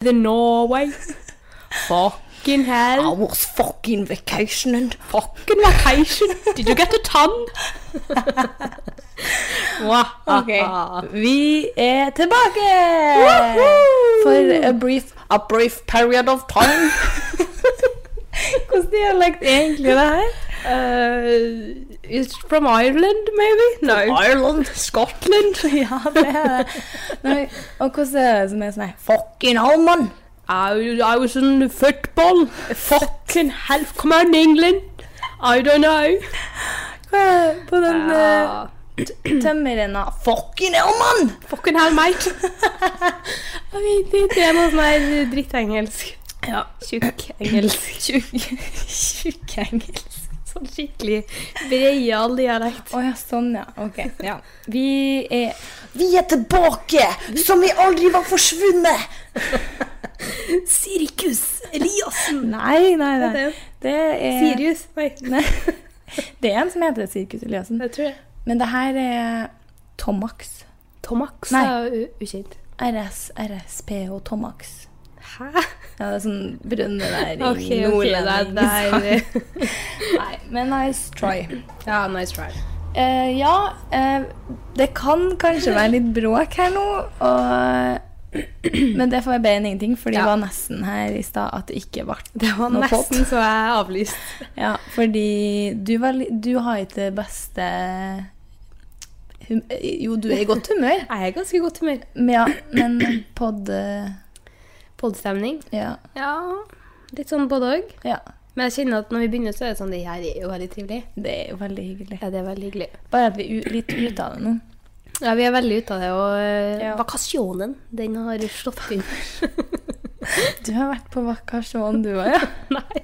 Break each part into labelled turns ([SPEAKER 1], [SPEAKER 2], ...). [SPEAKER 1] The Norway. Fucking hell.
[SPEAKER 2] Hours fucking vacation and
[SPEAKER 1] Fucking vacation. Did you get a ton?
[SPEAKER 2] Ok, vi er tilbake!
[SPEAKER 1] Woohoo!
[SPEAKER 2] For a brief, a brief period of time. Hvordan dialekt er egentlig det her?
[SPEAKER 1] Uh, it's from Ireland, maybe? No.
[SPEAKER 2] Ireland, Scotland. ja, det er det. Nei, og hvordan er det som er sånn her? Fucking hell, mann!
[SPEAKER 1] I, I was in football. Fucking hell. Come on, England. I don't know.
[SPEAKER 2] Hva er det på den uh,
[SPEAKER 1] Uh,
[SPEAKER 2] tømmerrenna? Fucking hell, mann!
[SPEAKER 1] fucking hell, mate. Jeg vet ikke, Det er noe sånn her drittengelsk.
[SPEAKER 2] Ja.
[SPEAKER 1] Tjukk engelsk.
[SPEAKER 2] Tjukk engelsk.
[SPEAKER 1] Sånn skikkelig breial dialekt.
[SPEAKER 2] Å ja, sånn, ja. Ok. Ja. Vi er Vi er tilbake! Som vi aldri var forsvunnet!
[SPEAKER 1] Sirkus Eliassen.
[SPEAKER 2] Nei, nei, nei. Det er
[SPEAKER 1] Sirius. Nei,
[SPEAKER 2] Nei. Det er en som heter Sirkus Eliassen.
[SPEAKER 1] det tror jeg.
[SPEAKER 2] Men det her er Tomax.
[SPEAKER 1] Tomax
[SPEAKER 2] Nei.
[SPEAKER 1] er u- ukjent.
[SPEAKER 2] RS, RSP og Tomax.
[SPEAKER 1] Hæ?
[SPEAKER 2] Ja, det er sånn brønnværing,
[SPEAKER 1] Ok, ok, det er der.
[SPEAKER 2] Nei, men nice try.
[SPEAKER 1] Ja, nice try.
[SPEAKER 2] Eh, ja, eh, det kan kanskje være litt bråk her nå, og, men det får jeg be enn ingenting, for det
[SPEAKER 1] Ja.
[SPEAKER 2] var nesten her i stad at det ikke ble
[SPEAKER 1] Det var
[SPEAKER 2] noe pop.
[SPEAKER 1] nesten så jeg avlyst.
[SPEAKER 2] Ja, fordi du, var, li- du har ikke det beste hum Jo, du er i godt humør,
[SPEAKER 1] Jeg er i ganske godt humør.
[SPEAKER 2] men, ja, men pod... eh,
[SPEAKER 1] Podstemning.
[SPEAKER 2] Ja.
[SPEAKER 1] Ja, litt sånn både òg.
[SPEAKER 2] ja.
[SPEAKER 1] Men jeg kjenner at når vi begynner, så er det sånn Det her er jo veldig trivelig.
[SPEAKER 2] Det er jo veldig hyggelig.
[SPEAKER 1] Ja, det er veldig hyggelig.
[SPEAKER 2] Bare at vi er u- litt ute av det nå.
[SPEAKER 1] Ja, vi er veldig ute av det, og eh,
[SPEAKER 2] Ja.
[SPEAKER 1] vakasjonen, den har slått inn.
[SPEAKER 2] Du har vært på vakasjon, du òg, ja?
[SPEAKER 1] Nei.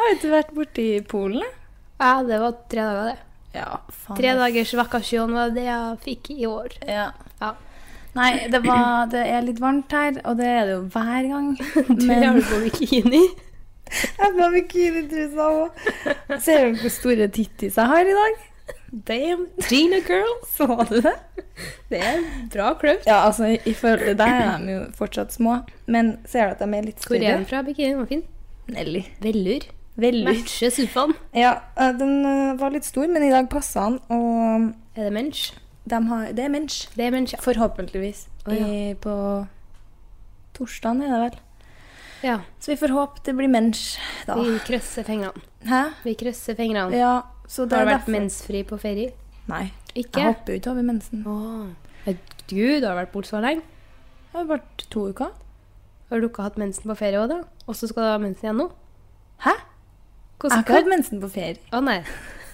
[SPEAKER 2] Har ikke du vært borti Polen, da?
[SPEAKER 1] Ja, det var tre dager, det.
[SPEAKER 2] Ja, faen.
[SPEAKER 1] Tre dagers vakasjon var det jeg fikk i år.
[SPEAKER 2] Ja.
[SPEAKER 1] Ja.
[SPEAKER 2] Nei, det, var, det er litt varmt her, og det er det jo hver gang.
[SPEAKER 1] Du har jo på bikini.
[SPEAKER 2] jeg har bikinitrusa òg. Ser du hvor store tittis jeg har i dag?
[SPEAKER 1] Damn, Gina girl.
[SPEAKER 2] Så du det?
[SPEAKER 1] Det er bra kløft.
[SPEAKER 2] Ja, altså, i- i forhold til deg er de jo fortsatt små. Men ser du at de er litt
[SPEAKER 1] Hvor er
[SPEAKER 2] større?
[SPEAKER 1] den fra? Bikinien var fin.
[SPEAKER 2] Nelly.
[SPEAKER 1] Vellur.
[SPEAKER 2] Veldig.
[SPEAKER 1] Matcher sofaen.
[SPEAKER 2] Ja, eh, den eh, var litt stor, men i dag passa den, og
[SPEAKER 1] Er det mensch?
[SPEAKER 2] de har, det er mens.
[SPEAKER 1] Det er mensch, ja.
[SPEAKER 2] Forhåpentligvis.
[SPEAKER 1] Å, ja.
[SPEAKER 2] I, på torsdagen er det vel.
[SPEAKER 1] ja.
[SPEAKER 2] Så vi får håpe det blir mens da.
[SPEAKER 1] Vi krøsser fingrene.
[SPEAKER 2] Hæ?
[SPEAKER 1] Vi krøsser fingrene.
[SPEAKER 2] Ja, så det
[SPEAKER 1] Har
[SPEAKER 2] er
[SPEAKER 1] du vært
[SPEAKER 2] derfor-
[SPEAKER 1] mensfri på ferie?
[SPEAKER 2] Nei.
[SPEAKER 1] Ikke?
[SPEAKER 2] Jeg hopper jo ikke over mensen.
[SPEAKER 1] Åh. Men Gud, du har vært borte så lenge.
[SPEAKER 2] Jeg har vært to uker.
[SPEAKER 1] Har du ikke hatt mensen på ferie òg, da? Og så skal du ha mensen igjen nå?
[SPEAKER 2] Hæ? Jeg har
[SPEAKER 1] Hvordan
[SPEAKER 2] ikke hatt
[SPEAKER 1] kan
[SPEAKER 2] mensen på ferie.
[SPEAKER 1] Å nei.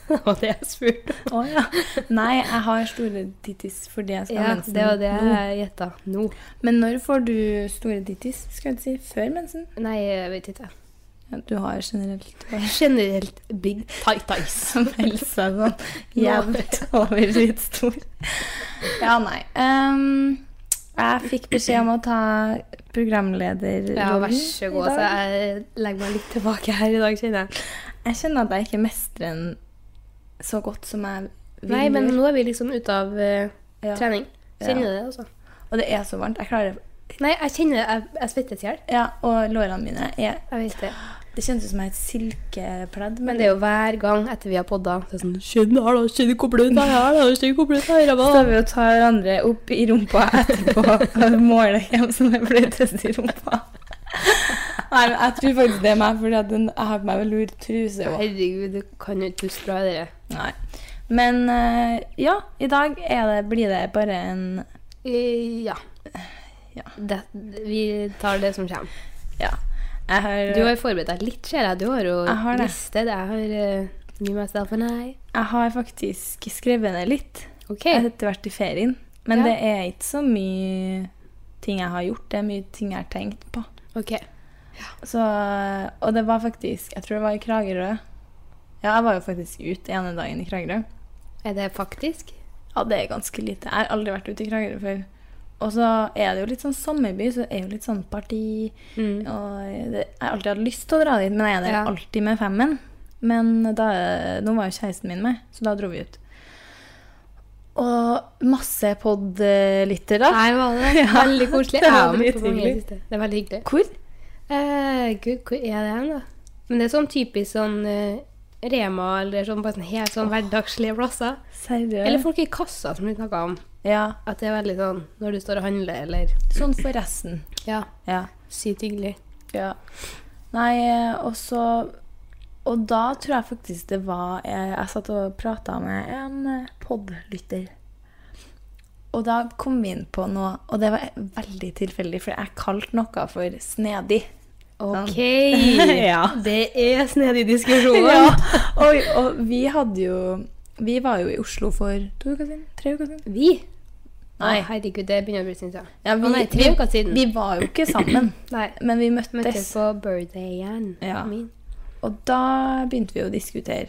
[SPEAKER 1] Det var det jeg spurte om.
[SPEAKER 2] Å ja. Nei, jeg har store tittis fordi jeg skal ha
[SPEAKER 1] Ja,
[SPEAKER 2] mensen
[SPEAKER 1] det var det
[SPEAKER 2] nå.
[SPEAKER 1] jeg gjetta. Nå.
[SPEAKER 2] Men når får du store tittis, skal jeg si? Før mensen?
[SPEAKER 1] Nei, jeg vet ikke.
[SPEAKER 2] Ja, du har generelt bare
[SPEAKER 1] Generelt big tight eyes.
[SPEAKER 2] som helse er sånn jevnt over litt stor. Ja, nei. Ehm, jeg fikk beskjed om å ta programlederrollen
[SPEAKER 1] Ja, vær så god.
[SPEAKER 2] i
[SPEAKER 1] Så
[SPEAKER 2] dag.
[SPEAKER 1] jeg legger meg litt tilbake her i dag, kjenner jeg.
[SPEAKER 2] Jeg kjenner at jeg ikke mestrer den så godt som jeg vil.
[SPEAKER 1] Nei, men
[SPEAKER 2] gjøre.
[SPEAKER 1] nå er vi liksom ute av eh,
[SPEAKER 2] Ja.
[SPEAKER 1] trening. Kjenner
[SPEAKER 2] Ja.
[SPEAKER 1] du det, altså?
[SPEAKER 2] Og det er så varmt. Jeg klarer
[SPEAKER 1] Nei, jeg kjenner Jeg, jeg svettes i hjel.
[SPEAKER 2] Ja, og lårene mine er
[SPEAKER 1] Jeg vet det.
[SPEAKER 2] Det kjennes ut som et silkepledd.
[SPEAKER 1] Men det er jo hver gang etter vi har podda så er det sånn, Kjenn her, da. Kjenn hvor bløt jeg er, da. Kjenn hvor bløt jeg er.
[SPEAKER 2] Så
[SPEAKER 1] da.»
[SPEAKER 2] tar vi og tar hverandre opp i rumpa etterpå og måler hvem som er bløtest i rumpa. Nei, men jeg tror faktisk det er meg, fordi at den, jeg har på meg velur truse òg.
[SPEAKER 1] Herregud, du kan jo ikke puste bra i det.
[SPEAKER 2] Nei. Men eh, ja, i dag er det, blir det bare en
[SPEAKER 1] Eh, Ja.
[SPEAKER 2] Ja.
[SPEAKER 1] Det, vi tar det som kommer.
[SPEAKER 2] Ja. Jeg har,
[SPEAKER 1] Du har forberedt deg litt, ser jeg. Du har jo
[SPEAKER 2] Jeg har det.
[SPEAKER 1] liste. Jeg har uh, New Myself and I.
[SPEAKER 2] jeg har faktisk skrevet ned litt.
[SPEAKER 1] OK.
[SPEAKER 2] Jeg har etter vært i ferien. Men
[SPEAKER 1] Ja.
[SPEAKER 2] det er ikke så mye ting jeg har gjort. Det er mye ting jeg har tenkt på.
[SPEAKER 1] ok.
[SPEAKER 2] Så, og det var faktisk Jeg tror det var i Kragerø. Ja, jeg var jo faktisk ute ene dagen i Kragerø.
[SPEAKER 1] Er det faktisk?
[SPEAKER 2] Ja, det er ganske lite. Jeg har aldri vært ute i Kragerø før. Og så er det jo litt sånn sommerby, så det er jo litt sånn parti
[SPEAKER 1] Mm.
[SPEAKER 2] og det, Jeg har alltid hatt lyst til å dra dit, men jeg er der
[SPEAKER 1] Ja.
[SPEAKER 2] alltid med femmen. Men da, nå var jo kjæresten min med, så da dro vi ut. Og masse podlyttere.
[SPEAKER 1] Nei, var det det?
[SPEAKER 2] Ja,
[SPEAKER 1] Veldig koselig.
[SPEAKER 2] det
[SPEAKER 1] Jeg
[SPEAKER 2] var
[SPEAKER 1] har vært på mange i
[SPEAKER 2] drithyggelig.
[SPEAKER 1] det siste. Det er veldig hyggelig.
[SPEAKER 2] Hvor?
[SPEAKER 1] Eh, Gud, hvor er det hen, da? Men det er sånn typisk sånn eh, Rema eller sånn bare sånn helt sånn hverdagslige plasser.
[SPEAKER 2] Seriøst?
[SPEAKER 1] Eller folk i kassa, som vi snakka om.
[SPEAKER 2] ja.
[SPEAKER 1] At det er veldig sånn når du står og handler, eller
[SPEAKER 2] Sånn forresten.
[SPEAKER 1] Ja,
[SPEAKER 2] Ja.
[SPEAKER 1] sykt hyggelig.
[SPEAKER 2] Ja. Nei, eh, og så Og da tror jeg faktisk det var Jeg, jeg satt og prata med en eh, podlytter. Og da kom vi inn på noe, og det var veldig tilfeldig, for jeg kalte noe for snedig.
[SPEAKER 1] OK!
[SPEAKER 2] Ja.
[SPEAKER 1] Det er snedig diskusjon.
[SPEAKER 2] Ja. Og, og vi hadde jo Vi var jo i Oslo for to uker siden? Tre uker siden?
[SPEAKER 1] Vi? Nei,
[SPEAKER 2] Nei.
[SPEAKER 1] herregud, det begynner å bli syns jeg.
[SPEAKER 2] Ja,
[SPEAKER 1] Å nei, tre uker siden.
[SPEAKER 2] Vi var jo ikke sammen,
[SPEAKER 1] Nei.
[SPEAKER 2] men vi
[SPEAKER 1] Møttes
[SPEAKER 2] møttes.
[SPEAKER 1] på birthdayen
[SPEAKER 2] Ja.
[SPEAKER 1] min.
[SPEAKER 2] Og da begynte vi å diskutere.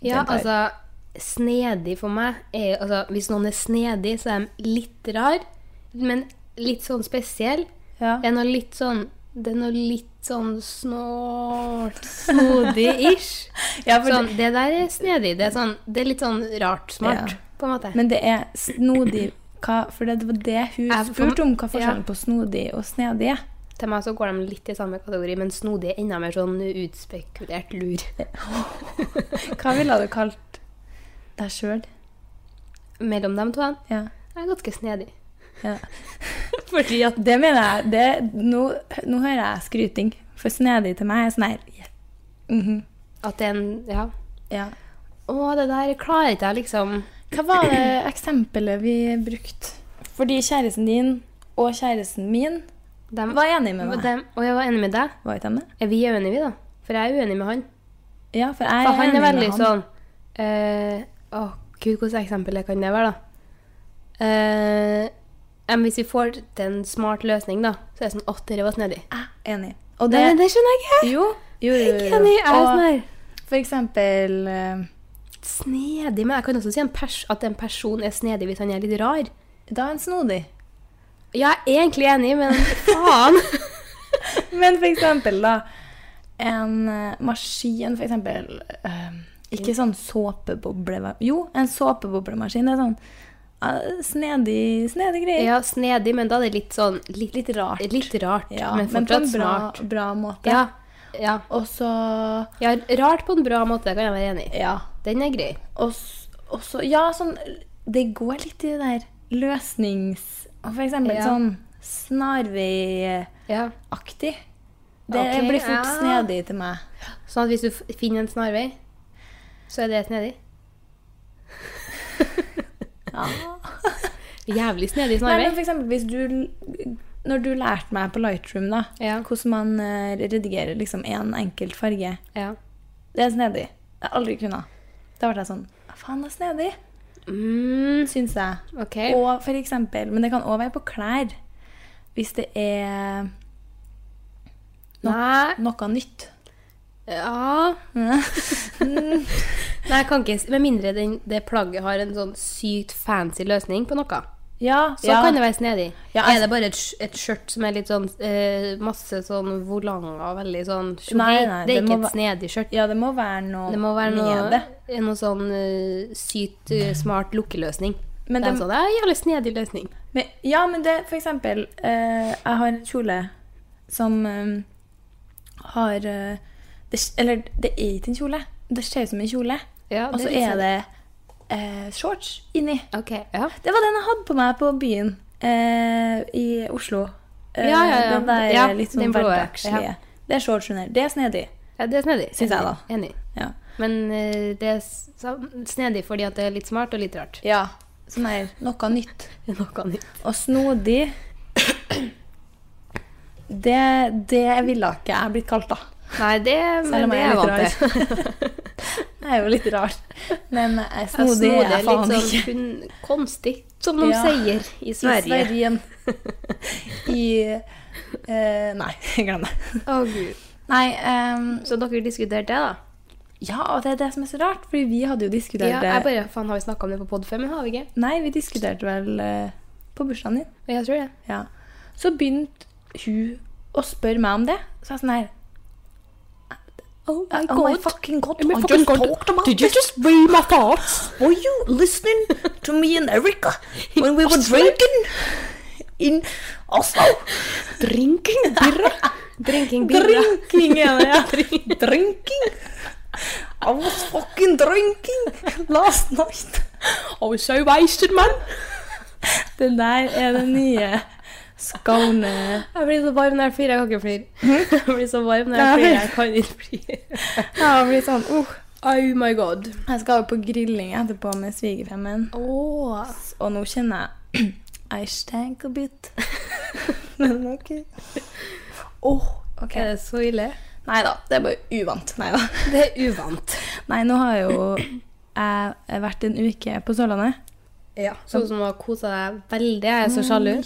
[SPEAKER 1] Ja,
[SPEAKER 2] Den der.
[SPEAKER 1] altså Snedig for meg er altså, Hvis noen er snedig, så er de litt rar, men litt sånn spesiell.
[SPEAKER 2] Ja.
[SPEAKER 1] Det er noe litt sånn Det er noe litt sånn snålt, snodig-ish.
[SPEAKER 2] Ja, for-
[SPEAKER 1] sånn, det der er snedig. Det er, sånn, det er litt sånn rart smart,
[SPEAKER 2] Ja.
[SPEAKER 1] på en måte.
[SPEAKER 2] Men det er snodig hva, For det var det hun
[SPEAKER 1] Jeg- for-
[SPEAKER 2] spurte om, hva
[SPEAKER 1] ja.
[SPEAKER 2] forskjellen på snodig og snedig er.
[SPEAKER 1] Til meg så går de litt i samme kategori, men snodig er enda mer sånn utspekulert lur.
[SPEAKER 2] Hva ville du kalt deg sjøl?
[SPEAKER 1] Mellom dem to jeg
[SPEAKER 2] Ja.
[SPEAKER 1] er ganske snedig.
[SPEAKER 2] Ja.
[SPEAKER 1] Fordi at
[SPEAKER 2] Det mener jeg det, nå, nå hører jeg skryting, for snedig til meg er sånn her yeah. Mhm.
[SPEAKER 1] At det er en Ja.
[SPEAKER 2] ja.
[SPEAKER 1] Å, det der klarer ikke jeg, liksom.
[SPEAKER 2] Hva var det eksempelet vi brukte? Fordi kjæresten din og kjæresten min
[SPEAKER 1] Dem,
[SPEAKER 2] var enig med meg.
[SPEAKER 1] dem, og jeg var enig med deg.
[SPEAKER 2] Var ikke de det?
[SPEAKER 1] Er vi uenige, vi, da? For jeg er uenig med han.
[SPEAKER 2] Ja, for jeg
[SPEAKER 1] For han
[SPEAKER 2] enig
[SPEAKER 1] er
[SPEAKER 2] med
[SPEAKER 1] veldig
[SPEAKER 2] han.
[SPEAKER 1] sånn eh, Å, gud, hvilket eksempel det kan det være, da? Eh, em, hvis vi får til en smart løsning, da, så er det sånn Å, dette var snedig.
[SPEAKER 2] Jeg er Enig. Og
[SPEAKER 1] Nei,
[SPEAKER 2] det
[SPEAKER 1] men det skjønner jeg ikke.
[SPEAKER 2] Jo, jo, jo.
[SPEAKER 1] Jeg er
[SPEAKER 2] jo,
[SPEAKER 1] ikke
[SPEAKER 2] jo.
[SPEAKER 1] enig. Jeg er
[SPEAKER 2] Og
[SPEAKER 1] sånn her
[SPEAKER 2] For eksempel eh,
[SPEAKER 1] snedig, men jeg kan også si en pers at en person er snedig hvis han er litt rar.
[SPEAKER 2] Da er han snodig.
[SPEAKER 1] Ja, jeg er egentlig enig, men faen.
[SPEAKER 2] Men for eksempel, da. En eh, maskin, for eksempel. eh, ikke sånn såpeboble... Jo, en såpeboblemaskin. Det er sånn eh, snedig, snedig greier.
[SPEAKER 1] ja, snedig, men da er det litt sånn Litt,
[SPEAKER 2] Litt rart.
[SPEAKER 1] litt rart,
[SPEAKER 2] Ja,
[SPEAKER 1] men
[SPEAKER 2] men, på
[SPEAKER 1] fortsatt
[SPEAKER 2] en bra,
[SPEAKER 1] smart.
[SPEAKER 2] bra måte.
[SPEAKER 1] Ja, ja.
[SPEAKER 2] Og så
[SPEAKER 1] ja, rart på en bra måte, kan jeg være enig i.
[SPEAKER 2] Ja.
[SPEAKER 1] Den er grei.
[SPEAKER 2] Og s- og så Ja, sånn Det går litt i det der løsnings... og For eksempel
[SPEAKER 1] Ja.
[SPEAKER 2] sånn snarveiaktig.
[SPEAKER 1] Ja.
[SPEAKER 2] Det
[SPEAKER 1] Ok,
[SPEAKER 2] blir fort
[SPEAKER 1] ja.
[SPEAKER 2] snedig til meg.
[SPEAKER 1] Sånn at hvis du f- finner en snarvei, så er det snedig.
[SPEAKER 2] Ja.
[SPEAKER 1] Jævlig snedig
[SPEAKER 2] Nei,
[SPEAKER 1] snarvei.
[SPEAKER 2] men for eksempel hvis du Når du lærte meg på Lightroom da
[SPEAKER 1] Ja.
[SPEAKER 2] Hvordan man eh, redigerer liksom en enkelt farge
[SPEAKER 1] ja.
[SPEAKER 2] Det er snedig Det har jeg aldri kunnet Da ble jeg sånn Faen, det er snedig
[SPEAKER 1] Mm,
[SPEAKER 2] Synes jeg
[SPEAKER 1] OK.
[SPEAKER 2] Og for eksempel Men det kan også være på klær Hvis det er
[SPEAKER 1] Nei
[SPEAKER 2] noe nytt
[SPEAKER 1] Ja Nei, jeg kan ikke s- Med mindre den, det plagget har en sånn sykt fancy løsning på noe.
[SPEAKER 2] Ja,
[SPEAKER 1] Så kan det være snedig.
[SPEAKER 2] Ja, jeg-
[SPEAKER 1] Er det bare et, sk- et skjørt som er litt sånn eh, Masse sånn volanger og veldig sånn tjogei?
[SPEAKER 2] Nei, nei,
[SPEAKER 1] Det er
[SPEAKER 2] det
[SPEAKER 1] ikke
[SPEAKER 2] må
[SPEAKER 1] et snedig skjørt.
[SPEAKER 2] Ja, det må være noe
[SPEAKER 1] Det må være
[SPEAKER 2] med
[SPEAKER 1] noe,
[SPEAKER 2] det.
[SPEAKER 1] noe sånn eh, sykt eh, smart lukkeløsning.
[SPEAKER 2] Men
[SPEAKER 1] det er
[SPEAKER 2] det-
[SPEAKER 1] sånn, det er en jævlig snedig løsning.
[SPEAKER 2] Men, ja, men det for eksempel eh, Jeg har en kjole som eh, har eh, det, s- Eller det er ikke en kjole. Det ser ut som en kjole.
[SPEAKER 1] Ja,
[SPEAKER 2] Og så er
[SPEAKER 1] sånn.
[SPEAKER 2] det eh, shorts inni.
[SPEAKER 1] Ok, ja.
[SPEAKER 2] Det var den jeg hadde på meg på byen eh, i Oslo. Eh,
[SPEAKER 1] Ja, ja, ja.
[SPEAKER 2] Den der
[SPEAKER 1] Ja,
[SPEAKER 2] litt sånn
[SPEAKER 1] den blå, ja.
[SPEAKER 2] hverdagslige.
[SPEAKER 1] Ja.
[SPEAKER 2] Det er shorts under. Det er snedig.
[SPEAKER 1] ja det er snedig.
[SPEAKER 2] Synes jeg da.
[SPEAKER 1] Enig.
[SPEAKER 2] Ja.
[SPEAKER 1] Men eh, det er s- sam- snedig fordi at det er litt smart og litt rart.
[SPEAKER 2] ja. Sånn her noe nytt.
[SPEAKER 1] Noe nytt.
[SPEAKER 2] Og snodig Det, det ville ikke jeg blitt kalt, da.
[SPEAKER 1] Nei, det,
[SPEAKER 2] Selv
[SPEAKER 1] men
[SPEAKER 2] om
[SPEAKER 1] det er
[SPEAKER 2] jeg er
[SPEAKER 1] jeg
[SPEAKER 2] litt
[SPEAKER 1] vant til.
[SPEAKER 2] rar. Jeg er jo litt rar. Men jeg er
[SPEAKER 1] Ja,
[SPEAKER 2] snodig er jeg faen
[SPEAKER 1] litt sånn
[SPEAKER 2] ikke.
[SPEAKER 1] kun, konstig, som de
[SPEAKER 2] Ja.
[SPEAKER 1] sier i Sverige. Å,
[SPEAKER 2] Sverige. I eh, Nei, glem det.
[SPEAKER 1] Gud.
[SPEAKER 2] Nei, ehm,
[SPEAKER 1] Så dere diskuterte det, da?
[SPEAKER 2] ja, og det er det som er så rart, fordi vi hadde jo diskutert
[SPEAKER 1] Ja,
[SPEAKER 2] det
[SPEAKER 1] jeg bare, faen, Har vi snakka om det på pod før? Men har vi ikke?
[SPEAKER 2] Nei, vi diskuterte vel eh, på bursdagen din.
[SPEAKER 1] Jeg tror det.
[SPEAKER 2] Ja. Så begynte hun å spørre meg om det. Så jeg sånn her
[SPEAKER 1] Oh my
[SPEAKER 2] Oh my
[SPEAKER 1] god.
[SPEAKER 2] fucking god,
[SPEAKER 3] my
[SPEAKER 2] I
[SPEAKER 3] fucking
[SPEAKER 2] just
[SPEAKER 3] god.
[SPEAKER 2] talked about
[SPEAKER 3] Did you
[SPEAKER 2] this.
[SPEAKER 3] just read my thoughts?
[SPEAKER 2] Were you listening to me and Erica when we were drinking in Oslo?
[SPEAKER 3] Drinking birra?
[SPEAKER 1] Drinking birra.
[SPEAKER 2] Drinking, er det, ja. Drinking. I was fucking drinking last night.
[SPEAKER 3] I was so wasted, man.
[SPEAKER 2] Det der er det nye Skåne.
[SPEAKER 1] Jeg blir så varm når jeg flirer. Jeg kan ikke flire. Jeg blir så varm når jeg
[SPEAKER 2] Nei.
[SPEAKER 1] flirer. Jeg kan ikke flire.
[SPEAKER 2] Jeg blir sånn, uh.
[SPEAKER 1] Oh my god.
[SPEAKER 2] Jeg skal jo på grilling etterpå med svigerfemmen.
[SPEAKER 1] Åh.
[SPEAKER 2] Og nå kjenner jeg I stank a bit. Men ok. Åh, ok.
[SPEAKER 1] Er det så ille?
[SPEAKER 2] Nei da, det er bare uvant. Nei da.
[SPEAKER 1] Det er uvant.
[SPEAKER 2] Nei, nå har jo jeg vært en uke på Sørlandet.
[SPEAKER 1] Ja. Sånn som har kosa deg veldig. Jeg er så sjalu.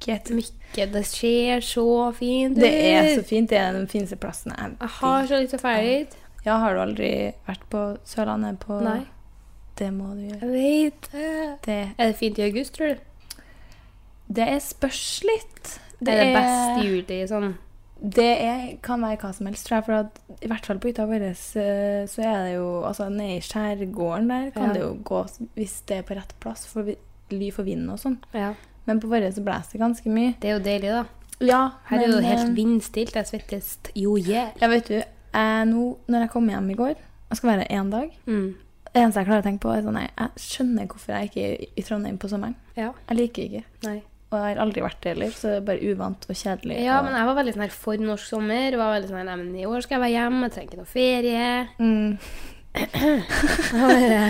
[SPEAKER 2] Get-
[SPEAKER 1] Mikke, det ser så fint ut.
[SPEAKER 2] Det er så fint. Det er den fineste plassen jeg
[SPEAKER 1] Jeg har så lyst til å dra dit.
[SPEAKER 2] Ja, har du aldri vært på Sørlandet på
[SPEAKER 1] Nei,
[SPEAKER 2] Det må du gjøre.
[SPEAKER 1] jeg vet det.
[SPEAKER 2] Det,
[SPEAKER 1] Er det fint i august, tror du?
[SPEAKER 2] det er spørs litt.
[SPEAKER 1] Det er det best i juli, sånn.
[SPEAKER 2] Det er, kan være hva som helst, tror jeg. For at, i hvert fall på hytta vår eh, så er det jo Altså nede i skjærgården der kan
[SPEAKER 1] Ja.
[SPEAKER 2] det jo gå hvis det er på rett plass, for vi- ly for vinden og sånn.
[SPEAKER 1] Ja.
[SPEAKER 2] Men på vår så blåser det ganske mye.
[SPEAKER 1] Det er jo deilig, da.
[SPEAKER 2] Ja,
[SPEAKER 1] Her er det jo helt
[SPEAKER 2] eh,
[SPEAKER 1] vindstilt. Jeg svettes jo i hjel.
[SPEAKER 2] Ja, vet du, jeg, nå, når jeg kom hjem i går Jeg skal være én dag.
[SPEAKER 1] Mm.
[SPEAKER 2] Det eneste jeg klarer å tenke på, er sånn nei, Jeg skjønner hvorfor jeg ikke er i Trondheim på sommeren.
[SPEAKER 1] Ja.
[SPEAKER 2] Jeg liker ikke.
[SPEAKER 1] Nei.
[SPEAKER 2] Og jeg har aldri vært det heller, så det er bare uvant og kjedelig.
[SPEAKER 1] Ja,
[SPEAKER 2] og,
[SPEAKER 1] men jeg var veldig sånn her for norsk sommer. Var veldig sånn her, nei, men I år skal jeg være hjemme, jeg trenger ikke noe ferie.
[SPEAKER 2] mm,
[SPEAKER 1] Jeg bare,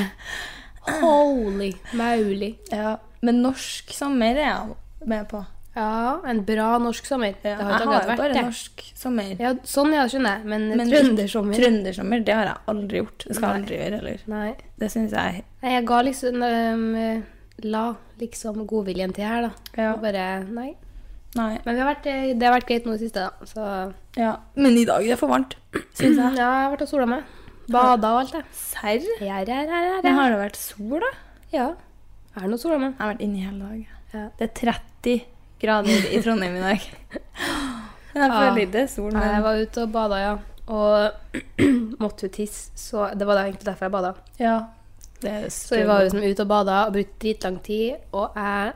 [SPEAKER 1] Holy moly.
[SPEAKER 2] ja, men norsk sommer er jeg med på.
[SPEAKER 1] Ja, en bra norsk sommer.
[SPEAKER 2] Ja,
[SPEAKER 1] det har ikke
[SPEAKER 2] jeg har jo
[SPEAKER 1] akkurat vært
[SPEAKER 2] bare
[SPEAKER 1] det.
[SPEAKER 2] norsk sommer.
[SPEAKER 1] Ja, sånn ja, skjønner jeg. Men,
[SPEAKER 2] Men
[SPEAKER 1] men
[SPEAKER 2] ikke
[SPEAKER 1] trøndersommer
[SPEAKER 2] Trøndersommer, det har jeg aldri gjort. Det skal jeg
[SPEAKER 1] Nei.
[SPEAKER 2] aldri gjøre heller.
[SPEAKER 1] Nei.
[SPEAKER 2] Det syns jeg
[SPEAKER 1] Nei, jeg ga liksom øhm, La liksom godviljen til her, da.
[SPEAKER 2] Ja.
[SPEAKER 1] Og bare Nei.
[SPEAKER 2] Nei.
[SPEAKER 1] Men vi har vært, eh, det har vært greit nå i det siste, da. Så
[SPEAKER 2] Ja. Men i dag det er for varmt, syns
[SPEAKER 1] ja,
[SPEAKER 2] jeg.
[SPEAKER 1] jeg har vært og sola meg. Bada og alt, det.
[SPEAKER 2] Serr?
[SPEAKER 1] Ja, ja, ja, ja,
[SPEAKER 2] Men
[SPEAKER 1] ja.
[SPEAKER 2] har det vært sol, da?
[SPEAKER 1] ja. Jeg har nå sola meg.
[SPEAKER 2] Jeg har vært inne i hele dag.
[SPEAKER 1] Ja.
[SPEAKER 2] Det er 30 grader i Trondheim i dag. Men jeg
[SPEAKER 1] Ja.
[SPEAKER 2] føler ikke det er sol.
[SPEAKER 1] Nei, Jeg
[SPEAKER 2] Men...
[SPEAKER 1] var ute og bada, ja. Og måtte jo tisse, så det var da egentlig derfor jeg bada.
[SPEAKER 2] Ja. Det er
[SPEAKER 1] Så vi var jo liksom ute og bada og brukte dritlang tid, og jeg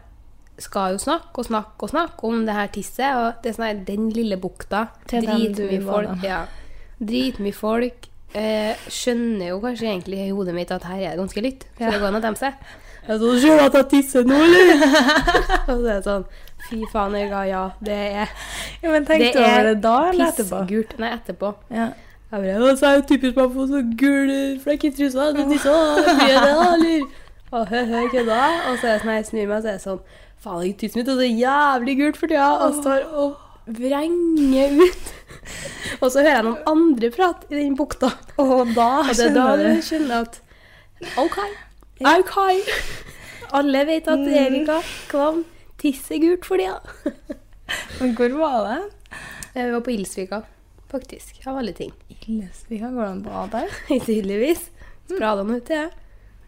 [SPEAKER 1] skal jo snakke og snakke og snakke om det her tisset, og det er sånn her, den lille bukta,
[SPEAKER 2] Til dem
[SPEAKER 1] dritmye
[SPEAKER 2] du var
[SPEAKER 1] folk,
[SPEAKER 2] da.
[SPEAKER 1] ja, dritmye folk, eh, skjønner jo kanskje egentlig i hodet mitt at her er det ganske lytt, så det går an å demme seg.
[SPEAKER 3] Jeg tror ikke at jeg tisser nå, eller?
[SPEAKER 1] Og så er det sånn, fy faen, jeg ga ja, det er
[SPEAKER 2] ja, Men tenk
[SPEAKER 1] Det
[SPEAKER 2] du
[SPEAKER 1] er
[SPEAKER 2] over det da, eller etterpå?
[SPEAKER 1] pissgult, nei, etterpå.
[SPEAKER 2] Ja.
[SPEAKER 3] Jeg bare, «Ja, så er jo typisk meg å få så gul eh, flekk i trusa. Du tisser, da. Blir det, da, eller?
[SPEAKER 1] Og hø, hø, kødda. Og så er jeg sånn, jeg snur meg, og så er jeg sånn Faen, jeg tissen min er så jævlig gult for tida. Og står og vrenger ut. Og så hører jeg noen andre prate i den bukta.
[SPEAKER 2] Og da
[SPEAKER 1] Og det er da
[SPEAKER 2] skjønner
[SPEAKER 1] du
[SPEAKER 2] du.
[SPEAKER 1] skjønner at OK. OK. Alle vet at Erika Kvam tisser gult for tida.
[SPEAKER 2] Men hvor var det?
[SPEAKER 1] Vi var på Ilsvika, faktisk. Av alle ting.
[SPEAKER 2] Illesvika, går det an å bade der?
[SPEAKER 1] Tydeligvis. Sprada noe til, jeg.